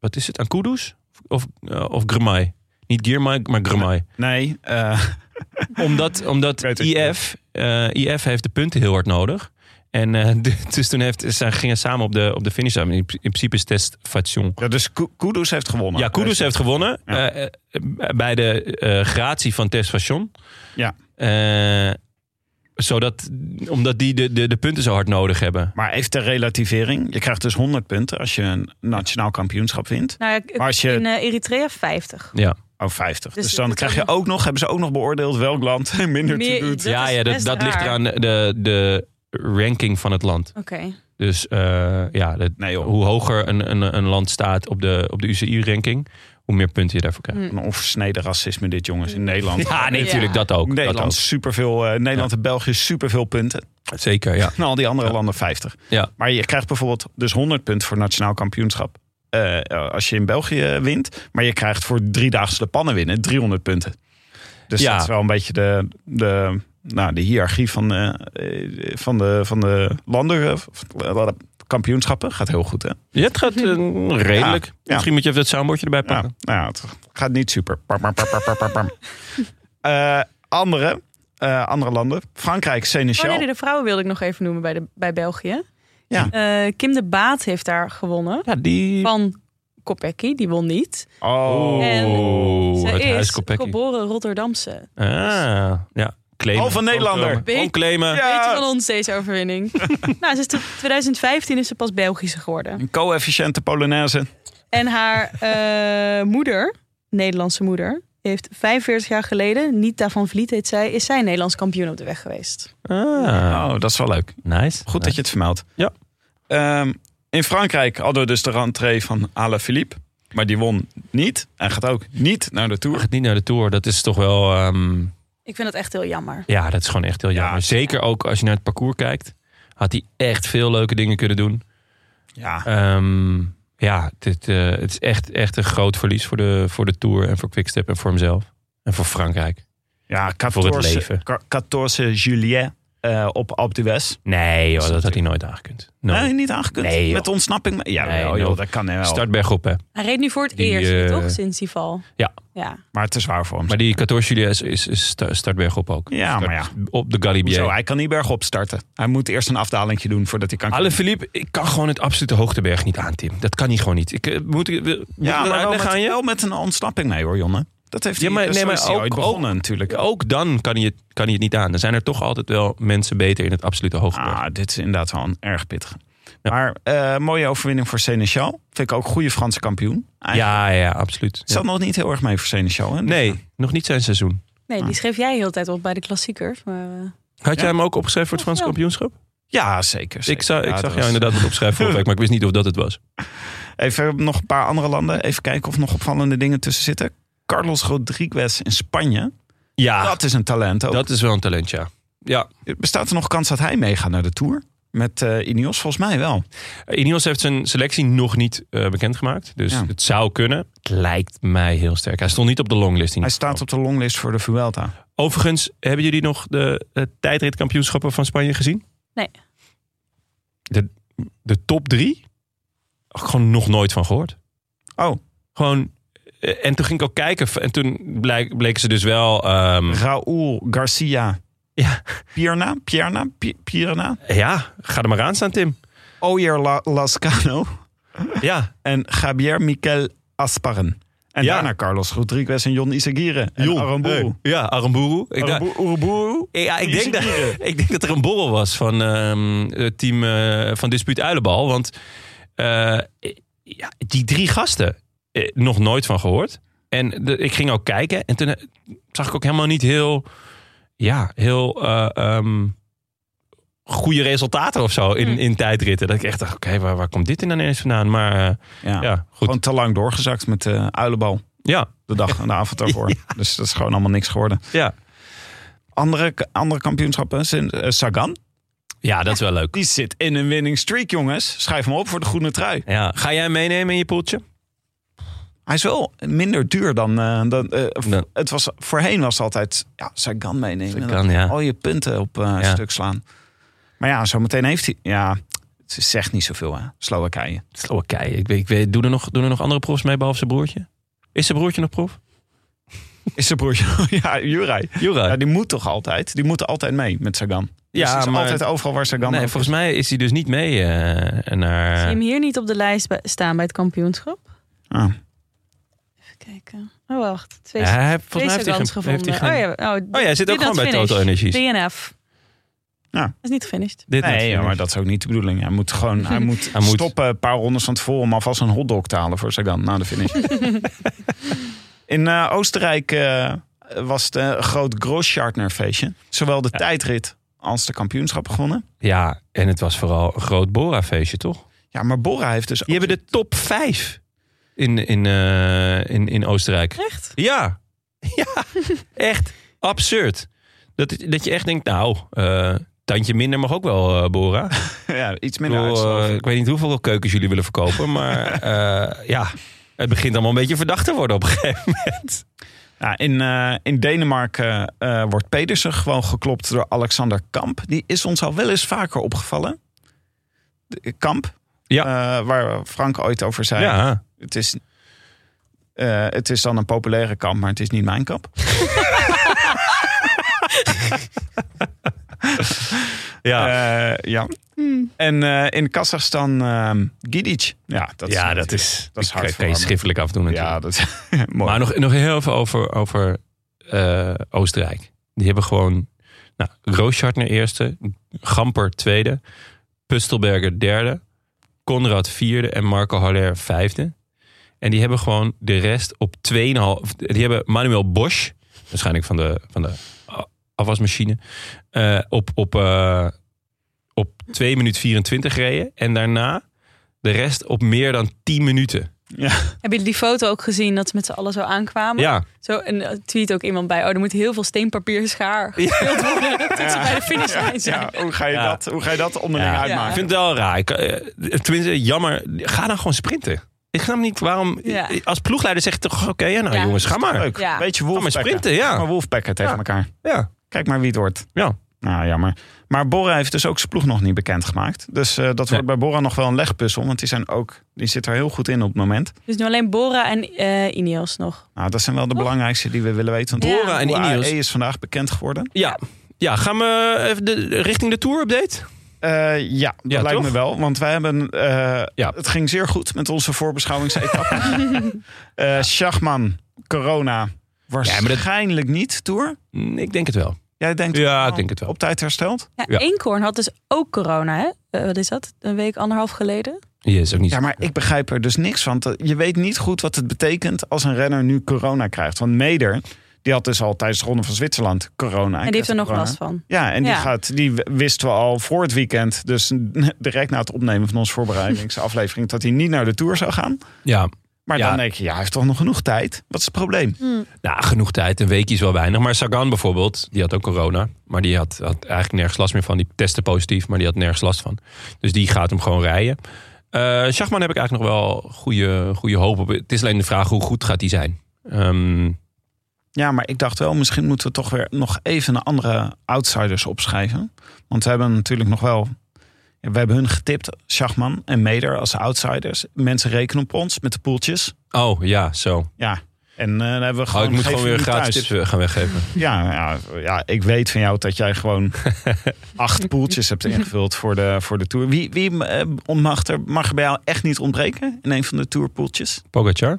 wat is het? Aan Kudus of, eh, of Grumai? Niet Girmay, maar Grumai. Nee, eh, Omdat, omdat Ik weet het niet. IF, eh, IF heeft de punten heel hard nodig. En eh, d- dus toen heeft, ze gingen samen op de, op de finish. In, in principe is Tesfation ja, dus Ku- Kudus heeft gewonnen. ja, Kudus Deze- heeft gewonnen Ja. eh, eh, bij de eh gratie van Tess Fashion. Ja. Eh, zodat, omdat die de, de, de punten zo hard nodig hebben. Maar even ter relativering. Je krijgt dus 100 punten als je een nationaal kampioenschap wint. Nou ja, Maar als je- in eh, Eritrea 50. Ja, Oh, 50. Dus, Dus dan dat krijg kan- je ook nog, hebben ze ook nog beoordeeld welk land minder te Meer- doet. Dat ja, is ja dat, best dat ligt raar. eraan de, de ranking van het land. Oké. Dus eh, ja, dat- Nee, joh. hoe hoger een, een, een land staat op de, op de UCI-ranking, hoe meer punten je daarvoor krijgt. Een onversneden racisme dit, jongens, in Nederland. Ja, nee, Ja. natuurlijk, dat ook. Dat Nederland, ook. superveel, eh, Nederland en België superveel punten. Zeker, ja. En al die andere landen 50. Ja. Maar je krijgt bijvoorbeeld dus 100 punten voor nationaal kampioenschap. eh, als je in België eh, wint. Maar je krijgt voor driedaagse de pannen winnen 300 punten. Dus Ja. dat is wel een beetje de, de, nou, de hiërarchie van, eh, eh, van, de, van de landen. eh, of, eh, kampioenschappen. Gaat heel goed hè? Ja, het gaat eh, redelijk. Ja. Misschien moet je even dat soundboardje erbij Ja, pakken. nou, ja, het gaat niet super. Pam, pam, pam, pam, pam, pam, pam. Eh, andere, eh, andere landen. Frankrijk, Oh Seneschal. nee, de vrouwen wilde ik nog even noemen bij, de, bij België. Ja. Eh, Kim de Baat heeft daar gewonnen. Ja, die... Van Kopecky, die won niet. Oh. En Oh, Ze het is huis Kopecky. geboren Rotterdamse. Ah, ja. Claimen. Halve Oh, Nederlander. Omclamen. Omclamen. Ja. Beter van ons deze overwinning. nou, ze is tot 2015 is ze pas Belgische geworden. Een co-efficiënte Polonaise. En haar eh, moeder, Nederlandse moeder, heeft 45 jaar geleden, Nita van Vliet heet zij, is zij Nederlands kampioen op de weg geweest. Ah, Oh, dat is wel leuk. nice. Goed dat je het vermeldt. Ja. Ehm, in Frankrijk hadden we dus de rentree van Alain Philippe. Maar die won niet. Hij gaat ook niet naar de Hij Tour. gaat niet naar de Tour. Dat is toch wel... ehm, Ik vind dat echt heel jammer. ja, dat is gewoon echt heel jammer. Ja. Zeker ook als je naar het parcours kijkt. Had hij echt veel leuke dingen kunnen doen. Ja. Ehm, ja, dit, eh, het is echt, echt een groot verlies voor de, voor de Tour. En voor Quickstep en voor hemzelf. En voor Frankrijk. Ja, Voor het 14, leven. ka- 14 juillet eh, op Alpe d'Huez. Nee joh, dat had hij nooit aangekund. No. Nee, niet aangekund. Nee, joh. Met ontsnapping. Ja, Nee, wel, joh, no. dat kan hij wel. Start bergop hè. Hij reed nu voor het Die, eerst, eh, toch? Sinds die val. ja. ja. Maar te zwaar voor hem. Maar die 14 juli is, is, is sta- start bergop ook. Ja, Start maar ja. Op de Galibier. Hoezo? Hij kan niet bergop starten. Hij moet eerst een afdalingje doen voordat hij kan. Alle Philippe, ik kan gewoon het absolute hoogteberg niet aan, Tim. Dat kan hij gewoon niet. Ik, eh, moet ik, wil- moet ja, ik dat maar wel uitleggen met, aan je? wel met een ontsnapping mee hoor, Jonne. Dat heeft Ja, hij, maar- dus nee, zo maar is hij ook- ooit begonnen natuurlijk. Ook dan kan hij, het, kan hij het niet aan. Dan zijn er toch altijd wel mensen beter in het absolute hoogteberg. Ah, dit is inderdaad wel een erg pittig. Ja. Maar eh, mooie overwinning voor Seneschal. Vind ik ook goede Franse kampioen. Eigenlijk ja, ja, absoluut. Ja. Zat nog niet heel erg mee voor Seneschal. Hè? Dus Nee, nog niet zijn seizoen. Nee, die schreef jij heel de tijd op bij de klassiekers. Maar, eh, Had Ja. jij hem ook opgeschreven voor het Franse Ja. kampioenschap? Ja, zeker. zeker. Ik, zag Ja, ik dat zag was- jou inderdaad wat opschrijven vorige week, maar ik wist niet of dat het was. Even nog een paar andere landen. Even kijken of nog opvallende dingen tussen zitten. Carlos Rodriguez in Spanje. Ja, dat, Dat is een talent ook. is wel een talent, ja. Ja, Bestaat er nog kans dat hij meegaat naar de Tour? Met eh Ineos volgens mij wel. Eh, Ineos heeft zijn selectie nog niet eh, bekendgemaakt. Dus Ja. het zou kunnen. Het lijkt mij heel sterk. Hij stond niet op de longlist. in Hij ieder staat geval. op de longlist voor de Vuelta. Overigens, hebben jullie nog de eh, tijdritkampioenschappen van Spanje gezien? Nee. De, de top drie? Had ik Gewoon nog nooit van gehoord. Oh, Gewoon... eh, En toen ging ik ook kijken. En toen blijk- bleken ze dus wel... ehm, Raúl Garcia. ja, Pierna? Pierna? Pi- Pierna? ja, ga er maar aan staan, Tim. Oyer La- Lascano. Ja, En Javier Miquel Asparren. En Ja. daarna Carlos Rodriguez en Jon Isagire. En Jon, Aramburu. hey. Ja, Aramburu. Ik, da- Aramburu- Uruburu. ja, ik, denk dat, Isagire. ik denk dat er een borrel was van ehm, het team eh, van Dispuut Uilenbal. Want eh, ja, die drie gasten, eh, nog nooit van gehoord. En de- ik ging ook kijken en toen eh, zag ik ook helemaal niet heel, ja, heel eh, ehm, goede resultaten of zo in, Hmm. in tijdritten. Dat ik echt dacht, oké, waar, waar komt dit dan ineens vandaan? Maar eh, Ja. ja, goed. Gewoon te lang doorgezakt met de uilenbal. ja, De dag en de avond daarvoor. Dus dat is gewoon allemaal niks geworden. ja. Andere, andere kampioenschappen. zijn, eh, Sagan. ja, dat is wel leuk. Die zit in een winning streak, jongens. Schrijf hem op voor de groene trui. Ja. Ga jij hem meenemen in je poeltje? Hij is wel minder duur dan... eh, dan eh, v- Nee. het was, voorheen was het altijd... Ja, Sagan meenemen. Sagan, Dan ja. Al je punten op eh, een Ja. stuk slaan. Maar ja, zometeen heeft hij... Ja, het zegt niet zoveel, hè. Slowakije. Slowakije. Ik weet, ik weet, doen, er nog, doen er nog andere profs mee behalve zijn broertje? Is zijn broertje nog prof? Is zijn broertje... ja, Juraj. Jura. Ja, die moet toch altijd? Die moeten altijd mee met Sagan. Dus Ja, die is maar- altijd overal waar Sagan nee, ook volgens mij is hij dus niet mee eh, Zie je naar... hem hier niet op de lijst bij- staan bij het kampioenschap? is. Ah. Even kijken. Oh, wacht. Twee, Ja, hij heeft, twee volgens mij heeft hij geen- seconds heeft gevonden. hij geen... oh, ja. oh, Oh ja, hij zit ook Dit gewoon had bij finish. Total Energies. DNF. Ja. Dat is niet gefinished. Dit net Nee, ja, finish. maar dat is ook niet de bedoeling. Hij moet gewoon hij moet Hij moet- stoppen een paar rondes van tevoren... om alvast een hotdog te halen voor Sagan na de finish. In eh, Oostenrijk eh, was het een groot Grosschartner feestje. Zowel de tijdrit als de kampioenschap begonnen. Ja, en het was vooral een groot Bora-feestje, toch? Ja, maar Bora heeft dus... Die hebben de top 5 in, in, eh, in, in Oostenrijk. Echt? Ja. Ja, echt absurd. Dat, dat je echt denkt, nou, eh, tandje minder mag ook wel, eh, Bora. ja, iets Ik minder bedoel, uitslag. eh, ik weet niet hoeveel keukens jullie willen verkopen, maar eh, ja, het begint allemaal een beetje verdacht te worden op een gegeven moment. Ja, in, eh, in Denemarken eh, wordt Pedersen gewoon geklopt door Alexander Kamp. Die is ons al wel eens vaker opgevallen. De- Kamp, Ja. eh, waar Frank ooit over zei. Ja, Het, is, eh, het is dan een populaire kamp, maar het is niet mijn kamp. ja. Eh, ja. En eh, in Kazachstan ehm Gidic. Ja, dat ja, is, dat is, dat is kan- hard kan je voor hem. schriftelijk afdoen natuurlijk. Ja, dat is mooi. maar nog, nog heel even over, over eh, Oostenrijk. Die hebben gewoon nou, Rooschartner eerste, Gamper tweede, Pustelberger derde, Conrad vierde en Marco Haller vijfde. En die hebben gewoon de rest op 2,5. Die hebben Manuel Bosch, waarschijnlijk van de, van de a- afwasmachine, eh, op, op, eh, op 2 minuten 24 gereden. En daarna de rest op meer dan 10 minuten. Hebben jullie die foto ook gezien dat ze met z'n allen zo aankwamen? Ja, Zo en eh, tweet ook iemand bij. Oh, er moet heel veel steenpapier schaar gespeeld worden tot ze bij de finishlijn zijn. ja, hoe, ga je Ja. dat, hoe ga je dat onderling Ja. uitmaken? Ik vind het wel raar. Ik, eh, tenminste, jammer. Ga dan gewoon sprinten. Ik snap niet waarom... Ja. Als ploegleider zeg je toch... Oké, ja, nou Ja. jongens, ga maar. Leuk. Ja. Beetje Ga maar wolfpacken. sprinten, Ga ja. Maar wolfpacken tegen Ja. elkaar. ja. Kijk maar wie het wordt. ja. Nou, jammer. Maar Bora heeft dus ook zijn ploeg nog niet bekendgemaakt. Dus eh, dat wordt bij Bora nog wel een legpuzzel. Want die, zijn ook, die zit er heel goed in op het moment. Dus nu alleen Bora en eh Ineos nog. Nou, dat zijn wel de belangrijkste die we willen weten. Want Ja. Bora Oh. en Bora Ineos. AE is vandaag bekend geworden. Ja. Ja, gaan we even de, richting de Tour-update? Eh, ja, dat Ja, lijkt toch? me wel. Want wij hebben... eh, Ja. Het ging zeer goed met onze voorbeschouwingsetappe. Eh Schachman, corona, waarschijnlijk niet, Tour. Mm, Ik denk het wel. Jij denkt Ja, wel ik denk het wel. op tijd hersteld? Ja, Ja. Eenkhoorn had dus ook corona, hè? Eh, wat is dat? Een week, anderhalf geleden? Ja, is ook niet Ja, maar ik begrijp er dus niks van. Dat- Je weet niet goed wat het betekent als een renner nu corona krijgt. Want Meder, die had dus al tijdens de Ronde van Zwitserland corona. en die heeft er nog Corona. last van. Ja, en die, Ja. Gaat, die w- wisten we al voor het weekend. Dus direct na het opnemen van onze voorbereidingsaflevering. dat hij niet naar de Tour zou gaan. Ja. Maar Ja. dan denk je, ja, hij heeft toch nog genoeg tijd? Wat is het probleem? Nou, genoeg tijd. Een weekje is wel weinig. Maar Sagan bijvoorbeeld, die had ook corona. Maar die had, had eigenlijk nergens last meer van. Die testte positief, maar die had nergens last van. Dus die gaat hem gewoon rijden. Eh Schachman heb ik eigenlijk nog wel goede, goede hoop op. Het is alleen de vraag hoe goed gaat hij zijn. Ehm, Ja, maar ik dacht wel, misschien moeten we toch weer nog even een andere outsiders opschrijven. Want we hebben natuurlijk nog wel... ja, We hebben hun getipt, Schachman en Meder als outsiders. Mensen rekenen op ons met de poeltjes. oh ja, zo. Ja, en eh, dan hebben we Oh, gewoon... ik moet geven gewoon weer jullie gratis thuis. tips eh, gaan weggeven. Ja, ja, ja, ik weet van jou dat jij gewoon acht poeltjes hebt ingevuld voor de, voor de Tour. Wie, wie eh, mag, er, mag er bij jou echt niet ontbreken in een van de Tourpoeltjes? Pogacar?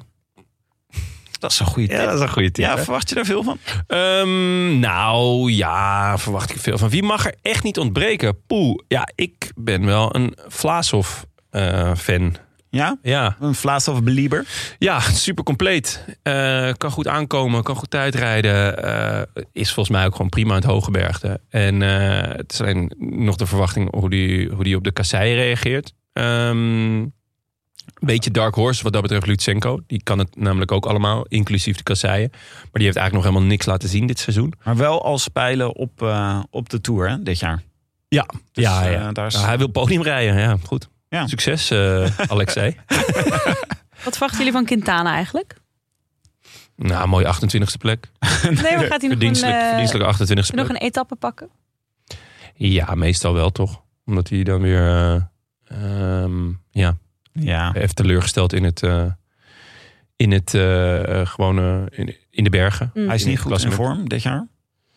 Dat is een goede tip. Ja, is een goede verwacht je daar veel van? Ehm, nou ja, verwacht ik veel van. Wie mag er echt niet ontbreken? Poeh, ja, ik ben wel een Vlaashoff-fan. Ja? ja, Een Vlaas of Belieber? ja, super compleet. Eh, kan goed aankomen, kan goed tijdrijden. eh, is volgens mij ook gewoon prima in het hooggebergte. En eh, het is alleen nog de verwachting hoe die, hoe die op de kassei reageert. Ehm beetje dark horse wat dat betreft Lutsenko. Die kan het namelijk ook allemaal, inclusief de kasseien. Maar die heeft eigenlijk nog helemaal niks laten zien dit seizoen. Maar wel als pijlen op, eh, op de Tour hè, dit jaar. Ja, Dus, ja, eh, ja. daar is- Nou, hij wil podium rijden. Ja, goed. Ja. Succes, eh Alexei. Wat verwachten jullie van Quintana eigenlijk? nou, mooie 28e plek. Nee, maar gaat hij nog een, Verdienstelijk, eh, verdienstelijke 28e plek. nog een etappe pakken? Ja, meestal wel toch. Omdat hij dan weer eh, ehm, ja, Ja. heeft teleurgesteld in het, eh, in het eh, eh, gewone, in, in de bergen. Mm. Hij is In niet het goed in klassement. vorm dit jaar.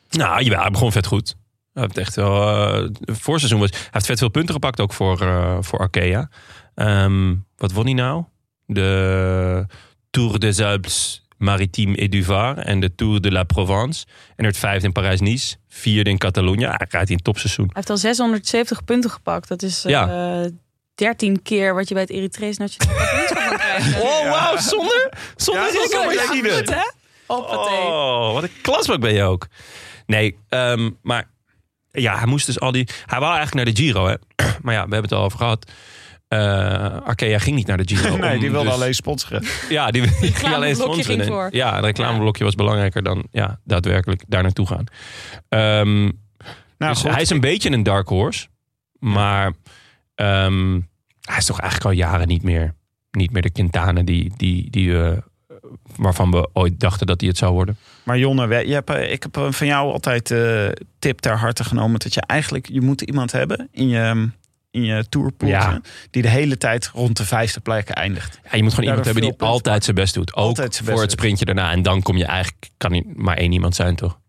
Nou, jawel, hij begon vet goed. Hij heeft echt wel, eh, het voorseizoen was, hij heeft vet veel punten gepakt ook voor, eh, voor Arkea. Ehm, wat won hij nou? De Tour des Alpes Maritime et du Var en de Tour de la Provence. En werd vijfde in Parijs-Nice, vierde in Catalonië. Ja, Hij rijdt in topseizoen. Hij heeft al 670 punten gepakt. Dat is eh, 13 keer wat je bij het Eritrees Nationaal Kampioenschap kan krijgen. Oh, wauw, zonder, zonder Ja, dat is Rico wel Machine. goed, hè? Hoppatee. Oh, wat een klasbak ben je ook. Nee, ehm, maar ja, hij moest dus al die... Hij wou eigenlijk naar de Giro, hè. Maar ja, we hebben het al over gehad. Eh Arkea ging niet naar de Giro. Nee, om die wilde dus- alleen sponsoren. Ja, die, die ging alleen reclameblokje sponsoren. ging voor. Ja, het reclameblokje was belangrijker dan ja, daadwerkelijk daar naartoe gaan. Ehm, Nou, dus goed. hij is een beetje een dark horse. Maar ehm, hij is toch eigenlijk al jaren niet meer, niet meer de Quintana die, die, die, we- waarvan we ooit dachten dat hij het zou worden. Maar Jonne, we- je hebt, eh, ik heb eh, van jou altijd de tip ter harte genomen dat je eigenlijk je moet iemand hebben in je, mm, in je tourpool Ja. die de hele tijd rond de vijfde plek eindigt. Ja, je moet gewoon Ja, iemand dat hebben veel die punten altijd zijn best doet. Ook Altijd zijn best voor het doet. sprintje daarna. En dan kom je eigenlijk, kan niet maar één iemand zijn toch?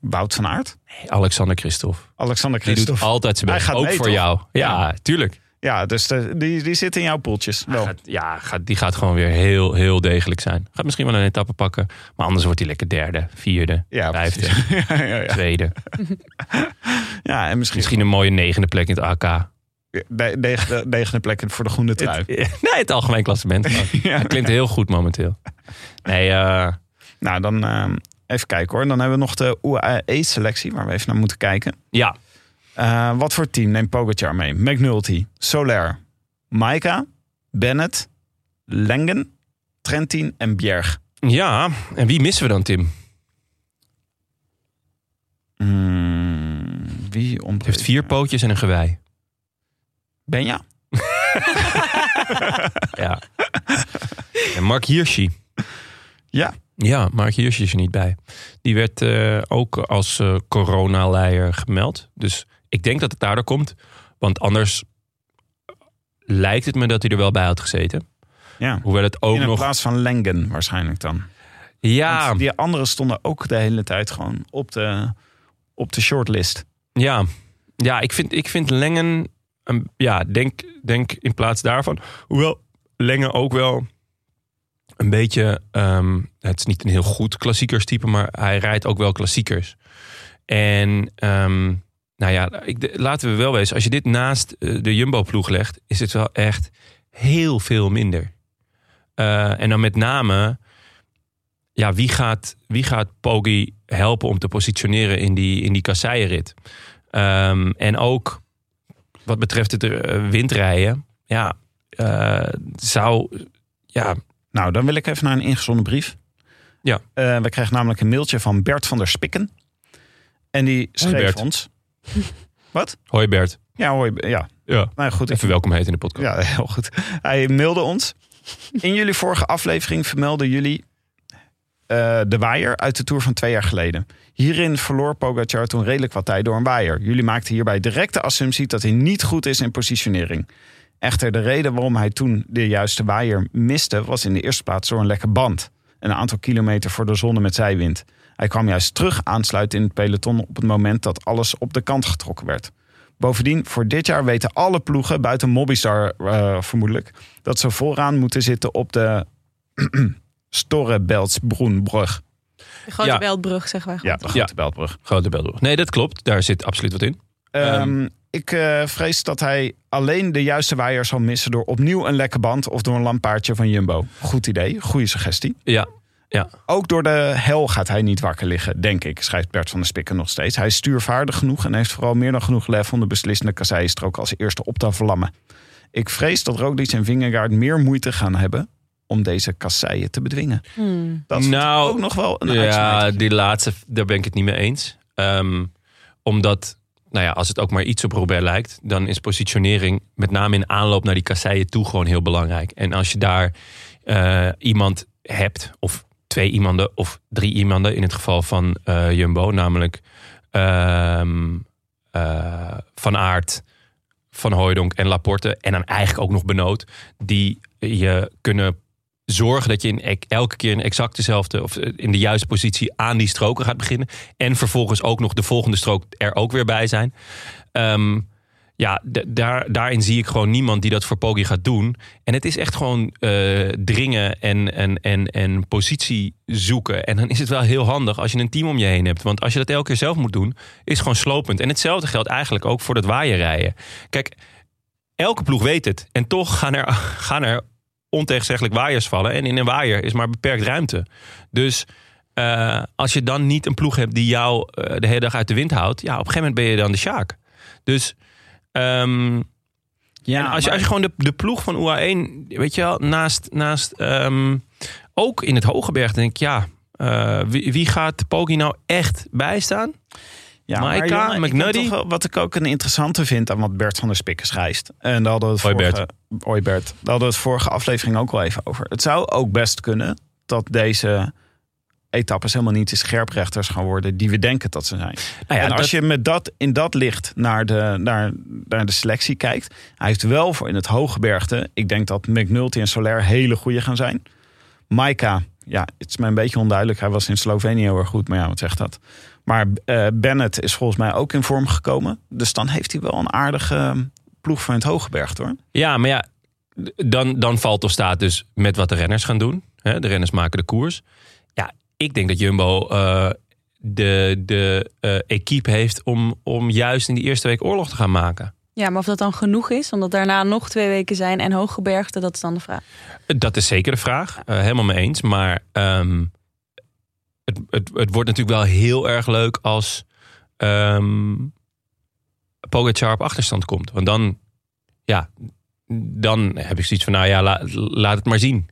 Wout van Aert, Alexander Christophe. Alexander Die doet Christophe. altijd zijn Hij best. gaat Ook mee, voor toch? jou. Ja, tuurlijk. Ja, dus de- die, die zit in jouw poeltjes. Wel. Gaat- ja, gaat, die gaat gewoon weer heel, heel degelijk zijn. Gaat misschien wel een etappe pakken. Maar anders wordt hij lekker derde, vierde, Ja, vijfde, precies. ja, ja, ja. tweede. ja, en misschien, Misschien een mooie negende plek in het AK. de- negende, negende plek voor de groene trui. Nee, het algemeen klassement. Ja. Dat klinkt heel goed momenteel. Nee, eh, Nou, dan ehm, even kijken hoor. Dan hebben we nog de UAE-selectie waar we even naar moeten kijken. ja. Eh, wat voor team neemt Pogacar mee? McNulty, Soler, Maika, Bennett, Lengen, Trentin en Bjerg. ja, en wie missen we dan, Tim? Hmm, wie ontbreekt? nou? Heeft vier pootjes en een gewei. Benja? Ja. En Mark Hirschi. Ja. Ja, Mark Hirschi is er niet bij. Die werd eh, ook als eh coronaleier gemeld. Dus ik denk dat het daardoor komt. Want anders lijkt het me dat hij er wel bij had gezeten. Ja. Hoewel het ook In nog... plaats van Lengen waarschijnlijk dan. Ja, Want die anderen stonden ook de hele tijd gewoon op de, op de shortlist. ja. ja ik, vind, ik vind Lengen... een- ja, denk, denk in plaats daarvan. Hoewel Lengen ook wel een beetje... ehm, het is niet een heel goed klassiekerstype... maar hij rijdt ook wel klassiekers. En ehm, nou ja, ik, de- laten we wel wezen... als je dit naast eh, de Jumbo-ploeg legt... is het wel echt heel veel minder. Eh, en dan met name... Ja, wie gaat, wie gaat Poggi helpen om te positioneren in die, in die kasseienrit? Ehm, en ook wat betreft het eh, windrijden... Ja, eh, zou ja, Nou, dan wil ik even naar een ingezonden brief. Ja. Eh, we kregen namelijk een mailtje van Bert van der Spikken. En die schreef Bert. ons. hoi Bert. Ja, hoi. Ja, Ja, nou goed. Ik, even welkom heten in de podcast. ja, heel goed. Hij mailde ons. In jullie vorige aflevering vermelden jullie eh, de waaier uit de Tour van twee jaar geleden. Hierin verloor Pogacar toen redelijk wat tijd door een waaier. Jullie maakten hierbij direct de assumptie dat hij niet goed is in positionering. Echter, de reden waarom hij toen de juiste waaier miste... was in de eerste plaats door een lekke band. Een aantal kilometer voor de zon met zijwind. Hij kwam juist terug aansluiten in het peloton... op het moment dat alles op de kant getrokken werd. Bovendien, voor dit jaar weten alle ploegen, buiten Mobistar eh, vermoedelijk... dat ze vooraan moeten zitten op de Storebeltsbroenbrug. De grote Ja. Weldbrug, zeg maar. Ja, de grote Ja. Beltbrug. Grote beldoeg. Nee, dat klopt. Daar zit absoluut wat in. Ehm, Ehm, ik eh, vrees dat hij alleen de juiste waaier zal missen... door opnieuw een lekke band of door een lampaardje van Jumbo. Goed idee, goede suggestie. Ja, Ook door de hel gaat hij niet wakker liggen, denk ik, schrijft Bert van der Spikken nog steeds. Hij is stuurvaardig genoeg en heeft vooral meer dan genoeg lef om de beslissende kasseienstrook als eerste op te vlammen. Ik vrees dat Roglic en Vingegaard meer moeite gaan hebben om deze kasseien te bedwingen. Hmm. Dat is Nou, ook nog wel een ja uitsmijter. die laatste, daar ben ik het niet mee eens. Ehm, omdat, nou ja, als het ook maar iets op Robert lijkt... dan is positionering met name in aanloop naar die kasseien toe gewoon heel belangrijk. En als je daar eh, iemand hebt, of twee iemanden, of drie iemanden... in het geval van eh, Jumbo, namelijk ehm, eh, Van Aert... Van Hooijdonk en Laporte. En dan eigenlijk ook nog Benoot. Die je kunnen zorgen dat je in ek- elke keer in exact dezelfde of eh, in de juiste positie aan die stroken gaat beginnen. En vervolgens ook nog de volgende strook er ook weer bij zijn. Ehm, ja, d- daar, daarin zie ik gewoon niemand die dat voor Poggi gaat doen. En het is echt gewoon eh, dringen en, en, en, en positie zoeken. En dan is het wel heel handig als je een team om je heen hebt. Want als je dat elke keer zelf moet doen, is gewoon slopend. En hetzelfde geldt eigenlijk ook voor dat waaierrijden. Kijk, elke ploeg weet het. En toch gaan er, gaan er ontegenzeggelijk waaiers vallen. En in een waaier is maar beperkt ruimte. Dus eh, als je dan niet een ploeg hebt die jou eh, de hele dag uit de wind houdt, ja, op een gegeven moment ben je dan de Sjaak. Dus ehm, Ja, en als, je, maar- als je gewoon de, de ploeg van UA1, weet je wel, naast, naast ehm, ook in het Hogeberg, denk ik, ja, eh, wie, wie gaat Poggi nou echt bijstaan? Ja, Maika, Jonne, ik heb McNuddy. toch wel- wat ik ook een interessante vind aan wat Bert van der Spikken schrijft. En daar hadden we het Hoi, vorige, Hoi Bert. Daar hadden we het vorige aflevering ook wel even over. Het zou ook best kunnen dat deze etappes helemaal niet de scherprechters gaan worden die we denken dat ze zijn. Nou ja, en als dat- je met dat, in dat licht naar de, naar, naar de selectie kijkt, hij heeft wel voor in het hooggebergte, ik denk dat McNulty en Soler hele goede gaan zijn. Maika, ja, het is mij een beetje onduidelijk. Hij was in Slovenië heel erg goed, maar ja, wat zegt dat? Maar eh, Bennett is volgens mij ook in vorm gekomen. Dus dan heeft hij wel een aardige eh, ploeg van het Hogeberg, hoor. Ja, maar ja, d- dan, dan valt of staat dus met wat de renners gaan doen. Hè, De renners maken de koers. Ja, ik denk dat Jumbo eh, de, de eh, equipe heeft om, om juist in die eerste week oorlog te gaan maken. Ja, maar of dat dan genoeg is, omdat daarna nog twee weken zijn en hooggebergte, dat is dan de vraag. Dat is zeker de vraag. Eh, helemaal mee eens. Maar ehm, het, het, het wordt natuurlijk wel heel erg leuk als ehm Pogacar op achterstand komt. Want dan, ja, dan heb ik zoiets van, nou ja, la- laat het maar zien.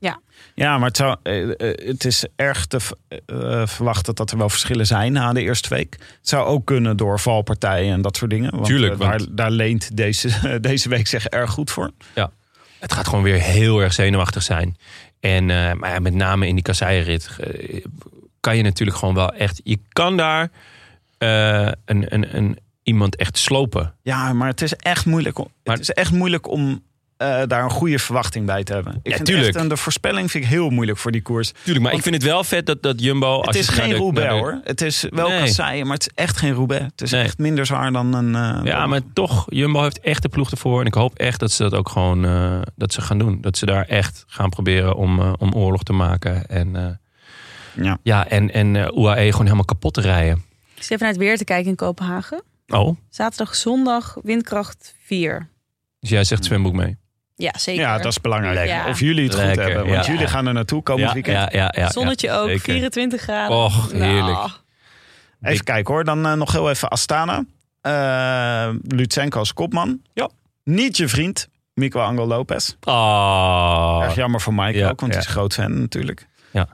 Ja, maar het, zou, eh, eh, het is erg te v- eh, verwachten dat er wel verschillen zijn na de eerste week. Het zou ook kunnen door valpartijen en dat soort dingen. Want, Tuurlijk, eh, want- Daar, daar leent deze, deze week zich erg goed voor. Het gaat gewoon weer heel erg zenuwachtig zijn. En eh, maar ja, met name in die kasseienrit eh, kan je natuurlijk gewoon wel echt... Je kan daar eh, een, een, een, iemand echt slopen. Ja, maar het is echt moeilijk om, Maar- het is echt moeilijk om eh, daar een goede verwachting bij te hebben. Ik Ja, vind tuurlijk. Echt, en de voorspelling vind ik heel moeilijk voor die koers. Tuurlijk, maar ik vind het wel vet dat, dat Jumbo... Het als je is naar geen de- Roubaix naar de- hoor. Het is wel Nee. kasseien, maar het is echt geen Roubaix. Het is Nee. echt minder zwaar dan een... eh, Ja, maar toch, Jumbo heeft echt de ploeg ervoor. En ik hoop echt dat ze dat ook gewoon eh, dat ze gaan doen. Dat ze daar echt gaan proberen om, eh, om oorlog te maken. En, eh, Ja. ja, en, en eh, UAE gewoon helemaal kapot te rijden. Ik zit even naar het weer te kijken in Kopenhagen. Oh, Zaterdag, zondag, windkracht 4. dus jij zegt zwemboek mee. Ja, zeker. Ja, dat is belangrijk. Lekker. Of jullie het goed Lekker, hebben. Want ja. jullie gaan er naartoe komend ja, weekend. ja, ja, ja, Zonnetje ja, ook, zeker. 24 graden. Och, Nou, heerlijk. Even kijken hoor. Dan eh, nog heel even Astana. Eh Lutsenko als kopman. Ja. Niet je vriend, Mico Angel Lopez. Ah. Erg jammer voor Mike Ja, ook, want ja. hij is groot fan natuurlijk. Ja.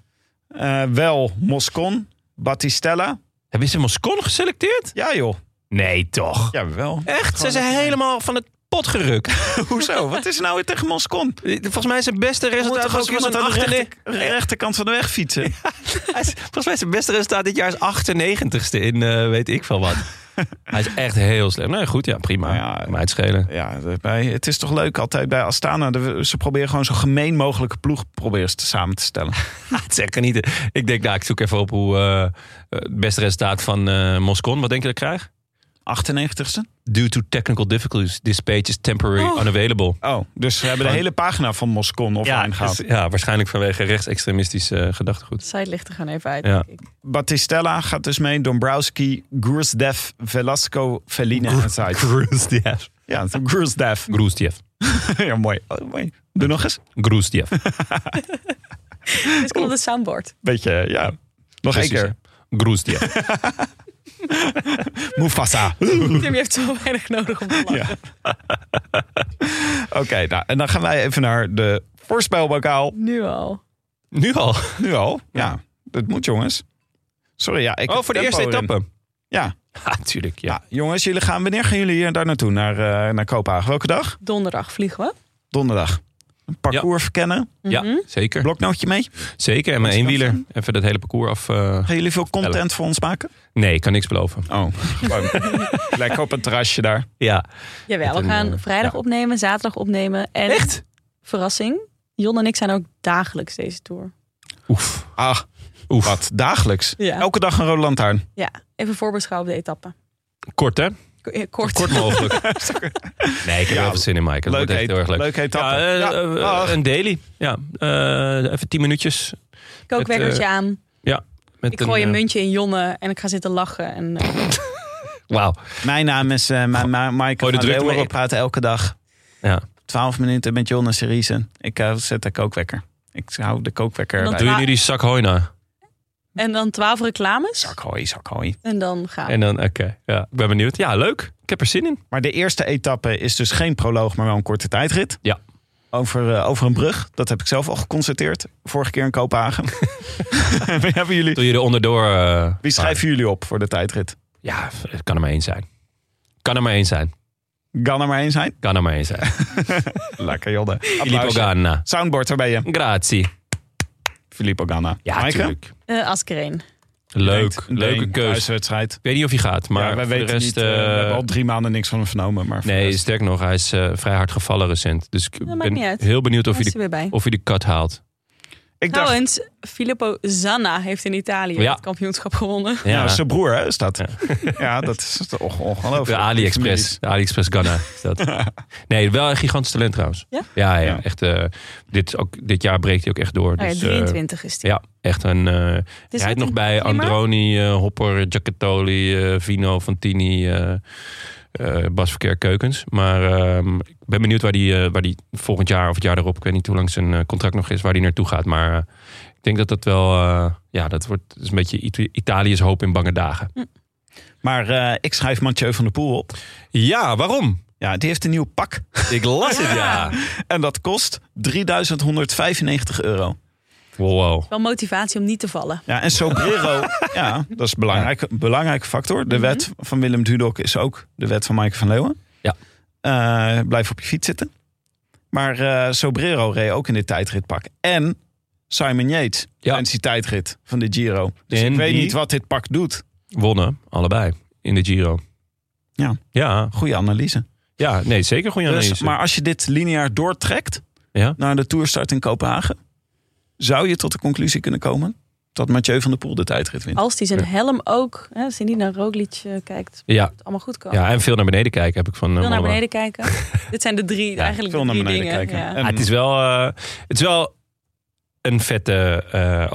Eh, wel Moscon, Battistella. Hebben ze Moscon geselecteerd? Ja joh, Nee, toch? jawel. Echt? Ze zijn helemaal van het pot gerukt. Hoezo? Wat is er nou weer tegen Moscon? Volgens mij zijn beste resultaat Moet was was, was iemand een aan de 98. rechter- rechterkant van de weg fietsen. Hij is- Volgens mij zijn beste resultaat dit jaar is 98ste in eh, weet ik veel wat. Hij is echt heel slecht. Nee, goed, ja, prima. Nou ja, Kan mij het schelen. Ja, bij, het is toch leuk altijd bij Astana. de- Ze proberen gewoon zo gemeen mogelijke ploeg proberen ze te samen te stellen. Ah, Het is echt genieten. Ik denk, nou, ik zoek even op hoe eh, eh, het beste resultaat van eh Moscon. Wat denk je dat ik krijg? 98ste? Due to technical difficulties, this page is temporarily unavailable. Oh, dus ze hebben de Gewoon- hele pagina van Moscon offline gehaald. is- ja, waarschijnlijk vanwege rechtsextremistisch eh, gedachtegoed. Zij ligt er gewoon even uit. Ja. denk ik. Battistella gaat dus mee. Dombrowski, Grusdev, Velasco, Fellini en Zeit. Groesdiev. Ja, Grusdev. Groesdiev. ja, mooi. Oh, mooi. Doe nog eens. Groesdiev. Het komt op het soundboard. Beetje, ja. Nog één Precies, keer. ja. Groesdiev. Mufasa. Tim, je hebt zo weinig nodig om te lachen. Ja. Oké, nou, en dan gaan wij even naar de voorspelbokaal. Nu al. Nu al. Nu al? Ja, dat moet jongens. Sorry, ja. Ik Oh, voor de tempo eerste erin. etappe. Ja. Ha, tuurlijk, ja. ja, jongens, jullie gaan, wanneer gaan jullie hier daar naartoe? Naar, eh, naar Kopenhagen? Welke dag? Donderdag vliegen we. Donderdag. Een parcours verkennen. Mhm. Ja, zeker. Bloknootje mee. Zeker. En mijn Is dat eenwieler. Even dat hele parcours af. eh, Gaan jullie veel content voor ons maken? Nee, ik kan niks beloven. Oh, Lekker op een terrasje daar. Ja. Jawel, Met we een, gaan eh, vrijdag ja. opnemen, zaterdag opnemen. En Echt? verrassing, Jon en ik zijn ook dagelijks deze tour. Oef. Ah, Oef. wat? Dagelijks? Ja. Elke dag een rode lantaarn. Ja, Oh. even voorbeschouwen op de etappe. Kort, hè? Ko- eh, Kort. Kort mogelijk. nee, ik heb Ja, heel veel zin in, Mike. Dat leuk wordt echt heet- heel erg leuk. leuk heet Ja, tappen. eh, Ja, eh, dag. een daily. Ja. eh, even tien minuutjes. Kookwekkertje Het, aan. Met Ik gooi eh, een muntje in Jonne en ik ga zitten lachen. En, eh, Wauw. Mijn naam is eh Ma- Ma- Michael Gooi de van druk Leeuwen. maar op. Ik praat elke dag Ja. 12 minuten met John en Cerise. Ik eh, zet de kookwekker. Ik hou de kookwekker Dan bij. Doe je nu die zak hoina? en dan twaalf reclames. Zakhooi, zakhooi. En dan gaan we. En dan, oké. Ja, ik ben benieuwd. Ja, leuk. Ik heb er zin in. Maar de eerste etappe is dus geen proloog, maar wel een korte tijdrit. Ja. Over, eh, over een brug. Dat heb ik zelf al geconstateerd. Vorige keer in Kopenhagen. Wie hebben jullie... Doe je er onderdoor. eh, Ah, Wie schrijven jullie op voor de tijdrit? Ja, het kan er maar één zijn. Kan er maar één zijn. Kan er maar één zijn. Kan er maar één zijn. Lekker, Jodde. Filippo Applausje. Ganna. Soundboard, daar ben je. Grazie. Filippo Ganna. Ja, Maaike? natuurlijk. Eh, Askreen. Leuk. Denkt, Leuke Deen, keuze. thuiswedstrijd. Ik weet niet of hij gaat, maar Maar wij voor de weten rest... niet. eh, we eh, hebben al drie maanden niks van hem vernomen. Maar voor de nee, rest- sterk nog, hij is eh, vrij hard gevallen recent. Dus ik maakt niet ben uit. heel benieuwd of Daar hij, is de, hij weer bij. of hij de cut haalt. ik dacht, Trouwens, Filippo Zanna heeft in Italië Ja. Dus, het kampioenschap gewonnen. Ja, nou, zijn broer hè, is dat. Ja, dat is toch ongelooflijk. de AliExpress. De AliExpress Ghana is dat. Nee, wel een gigantisch talent trouwens. Ja? Ja, ja, Ja. echt. eh, dit, ook, dit jaar breekt hij ook echt door. Ah ja, Dus, eh, 23 is die. Dus ja, echt een... eh is hij echt heeft nog een bij klimmer. Androni, eh, Hopper, Giacattoli, eh, Vino, Fantini, eh eh, Bas Verkeer Keukens. Maar ehm, ik ben benieuwd waar die, eh, waar die volgend jaar of het jaar erop, ik weet niet hoe lang zijn eh, contract nog is, waar die naartoe gaat. Maar eh, ik denk dat dat wel, eh, ja, dat wordt dat is een beetje Ita- Italië's hoop in bange dagen. Maar eh, ik schrijf Mathieu van der Poel op. Ja, waarom? Ja, die heeft een nieuw pak. Ik las het, ja. En dat kost 3.195 euro. Wow, wow. Wel motivatie om niet te vallen. Ja, en Sobrero, ja, dat is een belangrijke, belangrijke factor. De wet van Willem Dudok is ook de wet van Maaike van Leeuwen. Mhm. Ja. Eh, blijf op je fiets zitten. Maar eh, Sobrero reed ook in dit tijdritpak. En Simon Yates Ja. tijdens die tijdrit van de Giro. Dus En ik weet die- niet wat dit pak doet. Wonnen, allebei, in de Giro. Ja. Ja, Goede analyse. ja nee, zeker goede Dus, analyse. maar als je dit lineair doortrekt Ja. naar de toerstart in Kopenhagen... zou je tot de conclusie kunnen komen dat Mathieu van der Poel de tijdrit wint. Als die zijn Ja. helm ook, hè, als hij niet naar Roglic eh, kijkt, moet Ja, het allemaal goed komen. ja, en veel naar beneden kijken heb ik van eh, Veel naar Mollema. beneden kijken. Dit zijn de drie, Ja, eigenlijk Veel de naar drie beneden dingen. kijken. Ja. En- Ah, het, is wel, eh, het is wel een vette eh,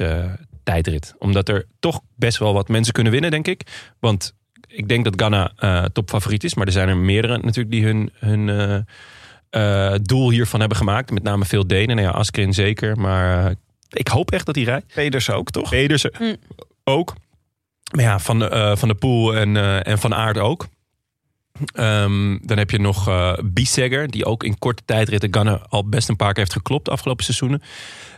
openingstijdrit. Omdat er toch best wel wat mensen kunnen winnen, denk ik. Want ik denk dat Ghana eh, topfavoriet is. Maar er zijn er meerdere natuurlijk die hun, hun eh, eh, doel hiervan hebben gemaakt. Met name veel Denen. Nou ja, Askrin zeker. Maar eh, ik hoop echt dat hij rijdt. Pedersen ook, toch? Pedersen Mm. ook. Maar ja, van, de, eh, van de Poel en, eh, en van Aard ook. Ehm, dan heb je nog eh Biesegger, die ook in korte tijdritten Ganna al best een paar keer heeft geklopt de afgelopen seizoenen.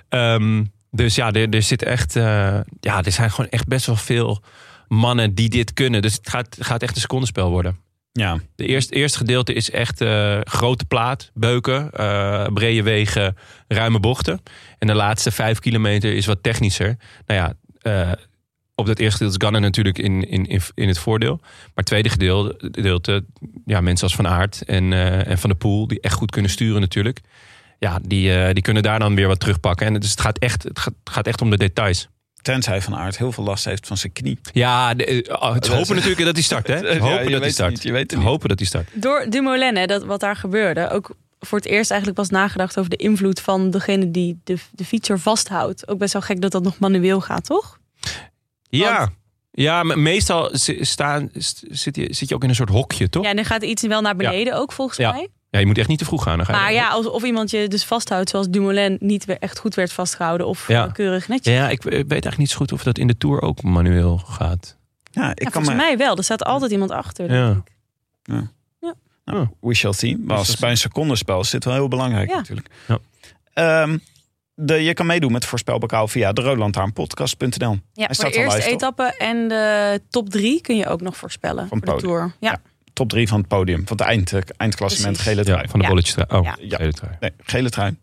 Ehm, dus ja, er, er zit echt, eh, ja, er zijn gewoon echt best wel veel mannen die dit kunnen. Dus het gaat, gaat echt een secondenspel worden. Ja, De eerste, eerste gedeelte is echt eh, grote plaat, beuken, eh, brede wegen, ruime bochten. En de laatste vijf kilometer is wat technischer. Nou ja, eh, op dat eerste gedeelte is Ganna natuurlijk in, in, in, in het voordeel. Maar het tweede gedeelte, gedeelte ja, mensen als Van Aert en, eh, en Van der Poel, die echt goed kunnen sturen natuurlijk. Ja, die, eh, die kunnen daar dan weer wat terugpakken. En dus het gaat echt, het gaat, het gaat echt om de details. tenzij Van Aard heel veel last heeft van zijn knie. Ja, de- eh, oh, het is hopen natuurlijk dat hij start. Hè? Ja, Het je Hopen weet dat hij het start. niet, je weet het niet. Hopen dat hij start. Door Dumoulin, hè, dat, wat daar gebeurde. Ook voor het eerst eigenlijk was nagedacht over de invloed van degene die de, de fietser vasthoudt. Ook best wel gek dat dat nog manueel gaat, toch? Ja. Want- Ja, maar meestal zi- staan, st- zit, je, zit je ook in een soort hokje, toch? Ja, Ja, en dan gaat iets wel naar beneden ook volgens Ja. mij. je moet echt niet te vroeg gaan. Dan ga je Maar wel- ja, alsof iemand je dus vasthoudt zoals Dumoulin niet weer echt goed werd vastgehouden. Of Ja. eh, keurig netjes. ja, ja, ik eh, weet eigenlijk niet zo goed of dat in de Tour ook manueel gaat. Ja, ik Ja, kan me... volgens mij wel. Er staat altijd iemand achter. Ja. denk ik. We shall see. Maar als shall bij een secondenspel is dit wel heel belangrijk Ja. natuurlijk. Ja. Ehm, de, je kan meedoen met voorspelbokaal via de roodlantaarnpodcast.nl. Ja, voor staat de al eerste lijst, toch? etappe en de top drie kun je ook nog voorspellen. Van voor de podium. Tour. Ja. Ja. Top drie van het podium, van het eind, eh, eindklassement Precies. gele Ja, trui. van de Ja. bolletjes trui. Oh, Ja. ja. gele trui. Nee, gele trui.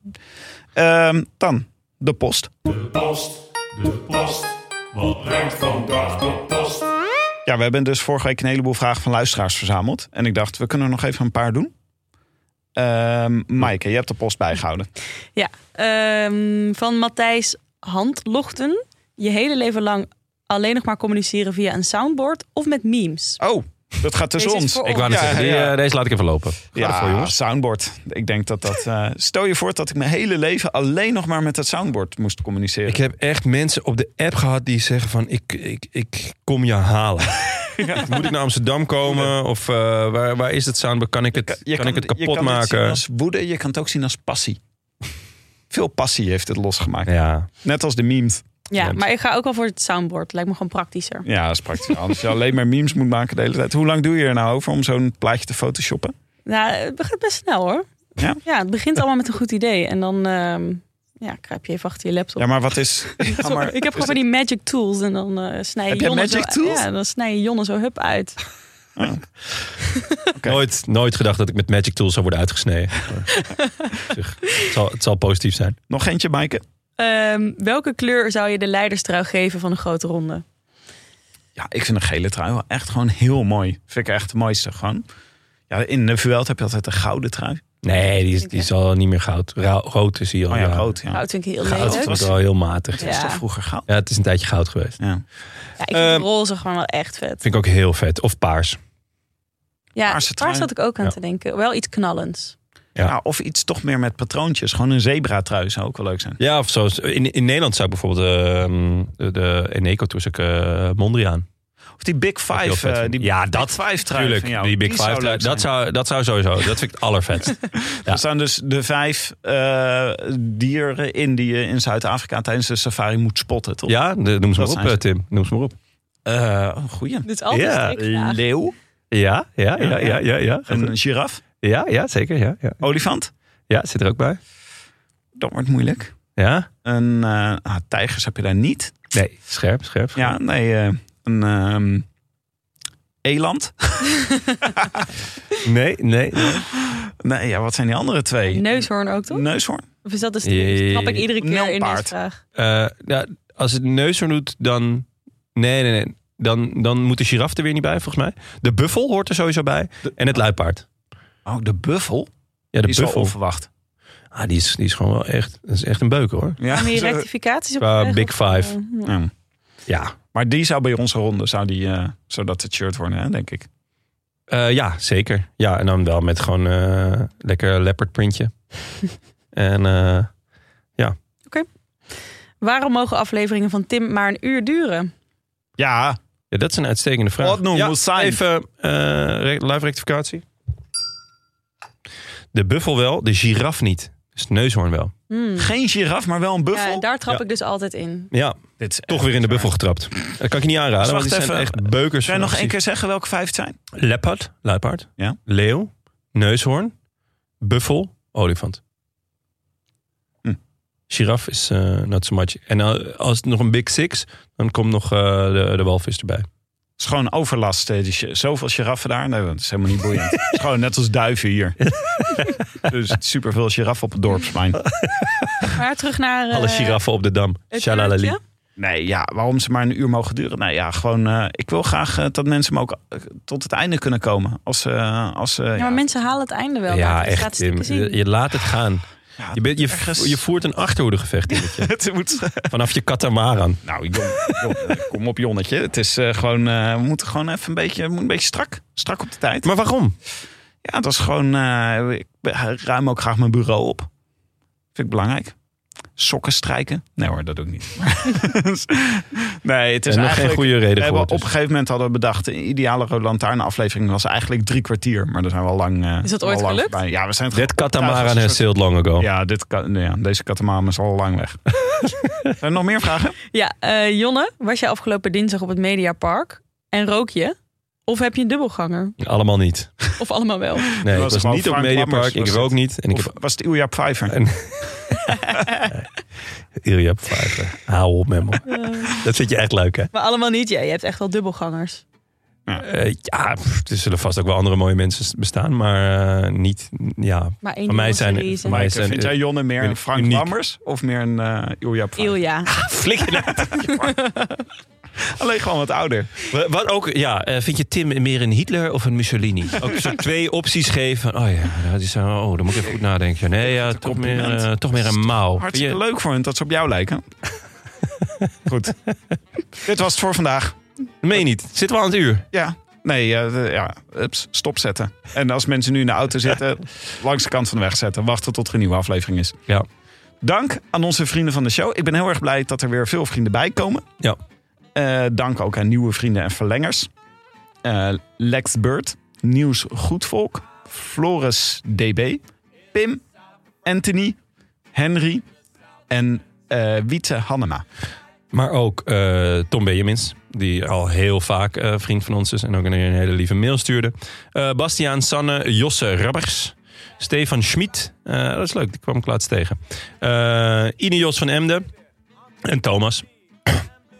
Ehm, dan de post. De post, wat brengt vandaag de post? Ja, we hebben dus vorige week een heleboel vragen van luisteraars verzameld. En ik dacht, we kunnen er nog even een paar doen. Ehm Maaike, je hebt de post bijgehouden. Ehm, van Matthijs Handlochten. Je hele leven lang alleen nog maar communiceren via een soundboard of met memes. Oh, dat gaat tussen Deze is ons. voor Ik wou net Ja, zeggen, die, ja. eh, deze laat ik even lopen. Ga Ja, ervoor, jongens. soundboard. Ik denk dat dat... eh, stel je voor dat ik mijn hele leven alleen nog maar met dat soundboard moest communiceren. Ik heb echt mensen op de app gehad die zeggen van ik, ik, ik kom je halen. Moet ik naar Amsterdam komen? Of eh, waar, waar is het soundboard? Kan ik het, kan ik het je kan kapot zien maken? als woede, je kan het ook zien als passie. Veel passie heeft het losgemaakt. Ja, Net als de memes. ja, want- maar ik ga ook wel voor het soundboard. Lijkt me gewoon praktischer. Ja, dat is praktisch. Als je alleen maar memes moet maken de hele tijd. Hoe lang doe je er nou over om zo'n plaatje te photoshoppen? Nou, het gaat best snel hoor. Ja? het begint allemaal met een goed idee. En dan ehm ja, kruip je even achter je laptop. Ja, maar wat is... Ja, Sorry, maar, ik heb gewoon van die magic tools en dan eh snij je Heb jij Jonne magic zo, tools? Ja, dan snij je Jonne zo hup uit. Ah, Oké. Nooit, nooit gedacht dat ik met Magic Tools zou worden uitgesneden. Zeg, het, zal, het zal positief zijn. Nog eentje, Maaike? Ehm, welke kleur zou je de leiderstrui geven van een grote ronde? Ja, ik vind een gele trui wel echt gewoon heel mooi. Vind ik echt het mooiste gewoon. Ja, in de Vuelta heb je altijd een gouden trui. Nee, die is, die is al niet meer goud. Ra- rood is hier al. Oh ja, rood. Ja. Nou, dat vind ik heel Goud lelijk. is wel heel matig. Dat is toch vroeger goud? Ja, het is een tijdje goud geweest. Ja. Ja, ik vind Ehm, roze gewoon wel echt vet. Vind ik ook heel vet. Of paars. Ja, paarse daar trui. zat ik ook aan Ja. te denken. Wel iets knallends. Ja. Nou, of iets toch meer met patroontjes. Gewoon een zebra trui zou ook wel leuk zijn. Ja, of zoals in, in Nederland zou ik bijvoorbeeld ehm, de, de Eneco toen ik eh, Mondriaan. Of die Big ik heel Five. vet eh, vind. die Ja, dat- Big Five trui Tuurlijk, van jou. die Big Die Five. zou leuk trui. dat, zijn. zou, dat zou sowieso. Dat vind ik het allervetst. ja. Er staan dus de vijf eh, dieren in die je in Zuid-Afrika tijdens de safari moet spotten, toch? ja, de- noem ze Dat maar op, zijn ze. eh, Tim. Noem ze maar op. Eh, een goeie. Dit is altijd Ja, een strikvraag. leeuw. Ja, ja, ja, ja, ja. Ja, Een giraf. ja, ja zeker. Ja, ja. Olifant. ja, zit er ook bij. Dat wordt moeilijk. Ja? Een eh, ah, tijgers heb je daar niet. Nee, scherp, scherp. scherp. Ja, nee. eh, een ehm, eland. Nee, nee. nee. Nee, ja, wat zijn die andere twee? Neushoorn ook, toch? Neushoorn. Of is dat dus Jee. trap ik iedere keer in deze Nijlpaard. vraag? Eh, ja, als het neushoorn doet, dan. Nee, nee, nee. Dan, dan moet de giraf er weer niet bij, volgens mij. De buffel hoort er sowieso bij. En het luipaard. Oh, de buffel. Ja, de die is wel buffel. onverwacht. Ah, die, is, die is gewoon wel echt. Dat is echt een beuker hoor. Ja, Gaan we hier zo- rectificaties op Qua krijgen? Big Of, Five. eh, ja. Ja. Ja. Maar die zou bij onze ronde, zou die, eh, zou dat het shirt worden, hè, denk ik. Eh, ja, zeker. Ja, en dan wel met gewoon eh, lekker leopard printje. en eh, Waarom mogen afleveringen van Tim maar een uur duren? Ja, ja, dat is een uitstekende vraag. Ordnung ja, moet zijn. Even eh, re- live rectificatie. De buffel wel, de giraf niet. Dus de neushoorn wel. Hmm. geen giraf, maar wel een buffel. Ja, daar trap Ja. ik dus altijd in. Ja, Dit is Toch weer in de buffel getrapt. Dat kan ik je niet aanraden, Dus want wacht die zijn even. echt beukers. Kan je van nog één acties. keer zeggen welke vijf het zijn? Leopard, luipaard, Ja. leeuw, neushoorn, buffel, olifant. Hm. Giraf is eh, not so much. En al- als het nog een big six, dan komt nog eh, de, de walvis erbij. Het is gewoon overlast. eh, die gi- zoveel giraffen daar. Nee, dat is helemaal niet boeiend. Het is gewoon net als duiven hier. dus superveel giraffen op het dorpsplein. Maar terug naar... eh, Alle giraffen op de dam. het Shalalali. uurtje. Nee, ja, waarom ze maar een uur mogen duren. Nou ja, gewoon, eh, ik wil graag eh, dat mensen hem ook eh, tot het einde kunnen komen. Als, eh, als, eh, Ja, ja. maar mensen halen het einde wel. Ja, Ja, echt. Tim. Je, je laat het gaan. Ja, Je, bent, je, Ah, ergens- je voert een achterhoedegevecht in. het moet, Vanaf je katamaran. nou, Jon, Jon, eh, kom op Jonnetje. Het is eh, gewoon, eh, we moeten gewoon even een beetje, we moeten een beetje strak, strak op de tijd. Maar waarom? Ja, dat is gewoon, eh, ik be- ruim ook graag mijn bureau op. Vind ik belangrijk. Sokken strijken? Nee hoor, dat doe ik niet. nee, het is Er is nog geen eigenlijk... goede We reden voor. hebben op dus. een gegeven moment hadden we bedacht, de ideale Rode Lantaarn aflevering was eigenlijk drie kwartier. Maar daar zijn we al lang eh, Is dat al ooit lang gelukt? voorbij. Ja, we zijn het That gewoon- katamaran has sailed long ago. Ja, dit, ka- ja, deze katamaran is al lang weg. zijn er nog meer vragen? Ja, eh, Jonne, was jij afgelopen dinsdag op het Mediapark en rook je? Of heb je een dubbelganger? Allemaal niet. Of allemaal wel? Nee, was ik was gewoon niet op Frank Mediapark. Lammers, Ik was rook het. niet. En ik Of heb was het Ilja Pfeiffer? En- Ilja Pfeiffer. Hou op met me. Dat vind je echt leuk, hè? Eh, Maar allemaal niet. Jij je hebt echt wel dubbelgangers. Eh, ja, pff, er zullen vast ook wel andere mooie mensen bestaan. Maar eh, niet, ja. Maar één Van mij zijn- dubbelseries en- van mij- Maaike, zijn- vind jij Jonne meer ben een Frank uniek. Lammers of meer een eh Ilja Pfeiffer? Ilja. Flikker nou. Alleen gewoon wat ouder. Wa- Wat ook, ja. eh, Vind je Tim meer een Hitler of een Mussolini? Ook zo twee opties geven. van, Oh ja, dat is, oh, dan moet ik even goed nadenken. Nee, ja, toch, meer, compliment. eh, toch meer een mouw. Vind Hartstikke je- leuk voor hen dat ze op jou lijken. Goed. Dit was het voor vandaag. Meen je niet. Zitten we aan het uur. Ja. Nee, eh, ja, ups, stopzetten. En als mensen nu in de auto zitten, langs de kant van de weg zetten. Wachten tot er een nieuwe aflevering is. Ja. Dank aan onze vrienden van de show. Ik ben heel erg blij dat er weer veel vrienden bij komen. Ja. Eh, dank ook aan nieuwe vrienden en verlengers. Eh, Lex Bird, Nieuws Goedvolk, Floris DB, Pim, Anthony, Henry en eh Wietse Hannema. Maar ook eh, Tom Benjamins, die al heel vaak eh, vriend van ons is en ook een een hele lieve mail stuurde. Eh, Bastiaan Sanne, Josse Rabbers, Stefan Schmid, eh, dat is leuk, die kwam ik laatst tegen. Eh Ine Jos van Emden en Thomas.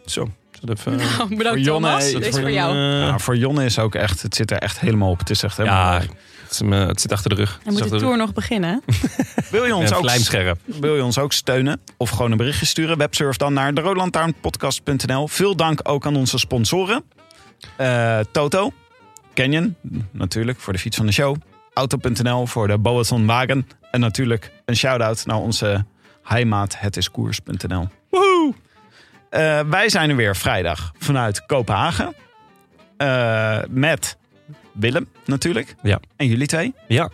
Zo, dat even. eh, Nou, Bedankt Jonne, Thomas. hey, Dit is voor voor jou. eh, Nou, voor Jonne is ook echt, het zit er echt helemaal op. Het is echt helemaal ja, het, is me- het zit achter de rug. Dan moet de tour nog beginnen. Wil je, ons Een ook, vlijmscherm. wil je ons ook steunen of gewoon een berichtje sturen? Websurf dan naar deroodlantaarnpodcast.nl. Veel dank ook aan onze sponsoren. Eh, Toto, Canyon natuurlijk voor de fiets van de show. Auto.nl voor de Boaton wagen. En natuurlijk een shout-out naar onze heimaat hetiskoers.nl. Woehoe! Eh, wij zijn er weer vrijdag vanuit Kopenhagen. Eh, met Willem natuurlijk. Ja. En jullie twee. Ja,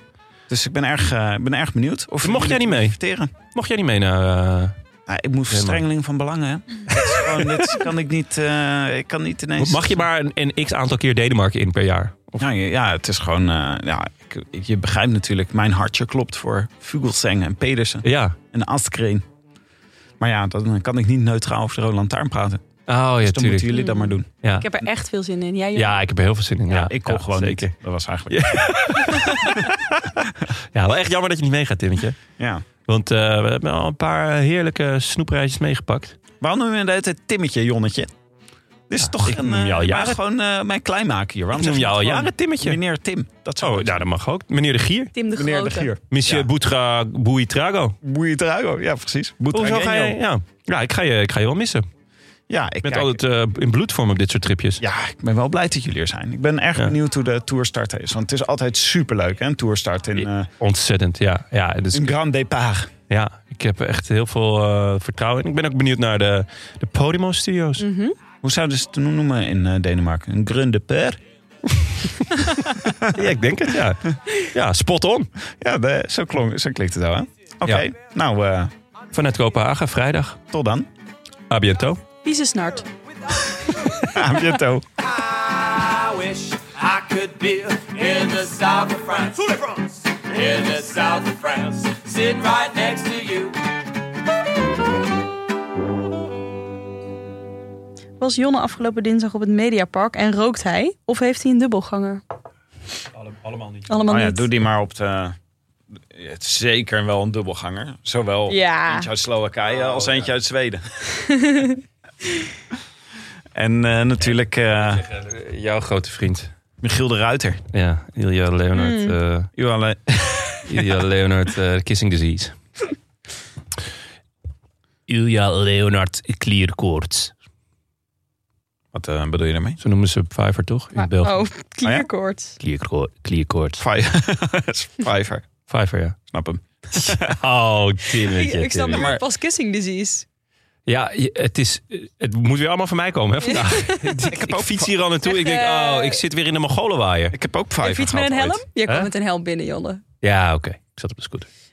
Dus ik ben erg, eh, ik ben erg benieuwd. Of Mocht jij jullie niet mee? inviteren. mocht jij niet mee naar... eh, Nou, ik moet verstrengeling van belangen. hè. Dit is gewoon- Dit kan ik niet. eh, ik kan niet ineens. mag je maar een, een x aantal keer Denemarken in per jaar? Of, Ja, je- ja, het is gewoon. eh, ja, ik- ik- je begrijpt natuurlijk. Mijn hartje klopt voor Vugelsang en Pedersen ja. en Astkreen. Maar ja, dan kan ik niet neutraal over de Roland Taarn praten. Dus Oh ja, dan moeten tuurlijk. jullie dat maar doen. Ja. Ik heb er echt veel zin in. Jij Jonne? Ja, ik heb er heel veel zin in. Ja, ik kon Ja, gewoon zeker. niet. Dat was eigenlijk. Ja, wel echt jammer dat je niet meegaat, Timmetje. Ja. Want eh, we hebben al een paar heerlijke snoepreisjes meegepakt. Waarom noem je dat het Timmetje, Jonnetje? Dit is Ja, toch ik een, noem eh, jou maar jaren- gewoon eh, mijn kleinmaken hier. Waarom Ik noem zeg je jou al niet gewoon jaren Timmetje. Meneer Tim. Dat zou Oh, ja, dat mag ook. Meneer de Gier. Tim de Meneer de Grote. Gier. Monsieur Ja. Boutra Bouitrago. Boeitrago, ja precies. Hoezo ga je... Boetragenio. Ja, ja ik, ga je, ik ga je wel missen. Ja, ik Ik ben kijk- altijd eh, in bloedvorm op dit soort tripjes. Ja, ik ben wel blij dat jullie er zijn. Ik ben erg Ja. benieuwd hoe de tourstart is. Want het is altijd superleuk, hè? Een tourstart in, eh Ontzettend, ja. Ja, dus, een grand départ. ja, ik heb echt heel veel eh, vertrouwen. in. Ik ben ook benieuwd naar de, de Podimo Studios. Mhm. Hoe zouden ze het noemen in eh, Denemarken? Een grand départ? Ja, ik denk het, ja. Ja, spot on. Ja, de- zo, klonk, zo klinkt het wel, hè? Oké, Ja. nou, eh, Vanuit Kopenhagen, vrijdag. tot dan. A bientôt. Wie is snart? A bientôt. I wish I could be in the south of France. In the south of France, sitting right next to you. Was Jonne afgelopen dinsdag op het Mediapark en rookt hij? Of heeft hij een dubbelganger? allemaal niet. Allemaal Nou ja, niet. doe die maar op de... Het is zeker wel een dubbelganger. Zowel Ja. eentje uit Slowakije als eentje uit Zweden. en eh, natuurlijk eh, Jouw grote vriend. Michiel de Ruiter. Ja, Ilja Leonard. eh, Hmm. U alle- Ilja Leonard eh, Kissing Disease. Ilja Leonard Klierkoorts. Wat eh, bedoel je daarmee? Zo noemen ze Pfeiffer toch? In België. Ah Oh, klierkoorts. Klierkoor- Klierkoorts. Vijver. Pfeiffer, ja. Snap hem. Oh, timmetje. Ik snap timmetje. het maar- maar pas kissing disease. Ja, je- het, is, het moet weer allemaal van mij komen hè, vandaag. ik, heb ook fiets hier al naartoe. Ik denk, oh, ik zit weer in de Mongolenwaaier. Ik heb ook Een vijver fiets met een gehad helm? ooit. Je Hè? komt met een helm binnen, Jonne. Ja, oké. Ik zat op de scooter.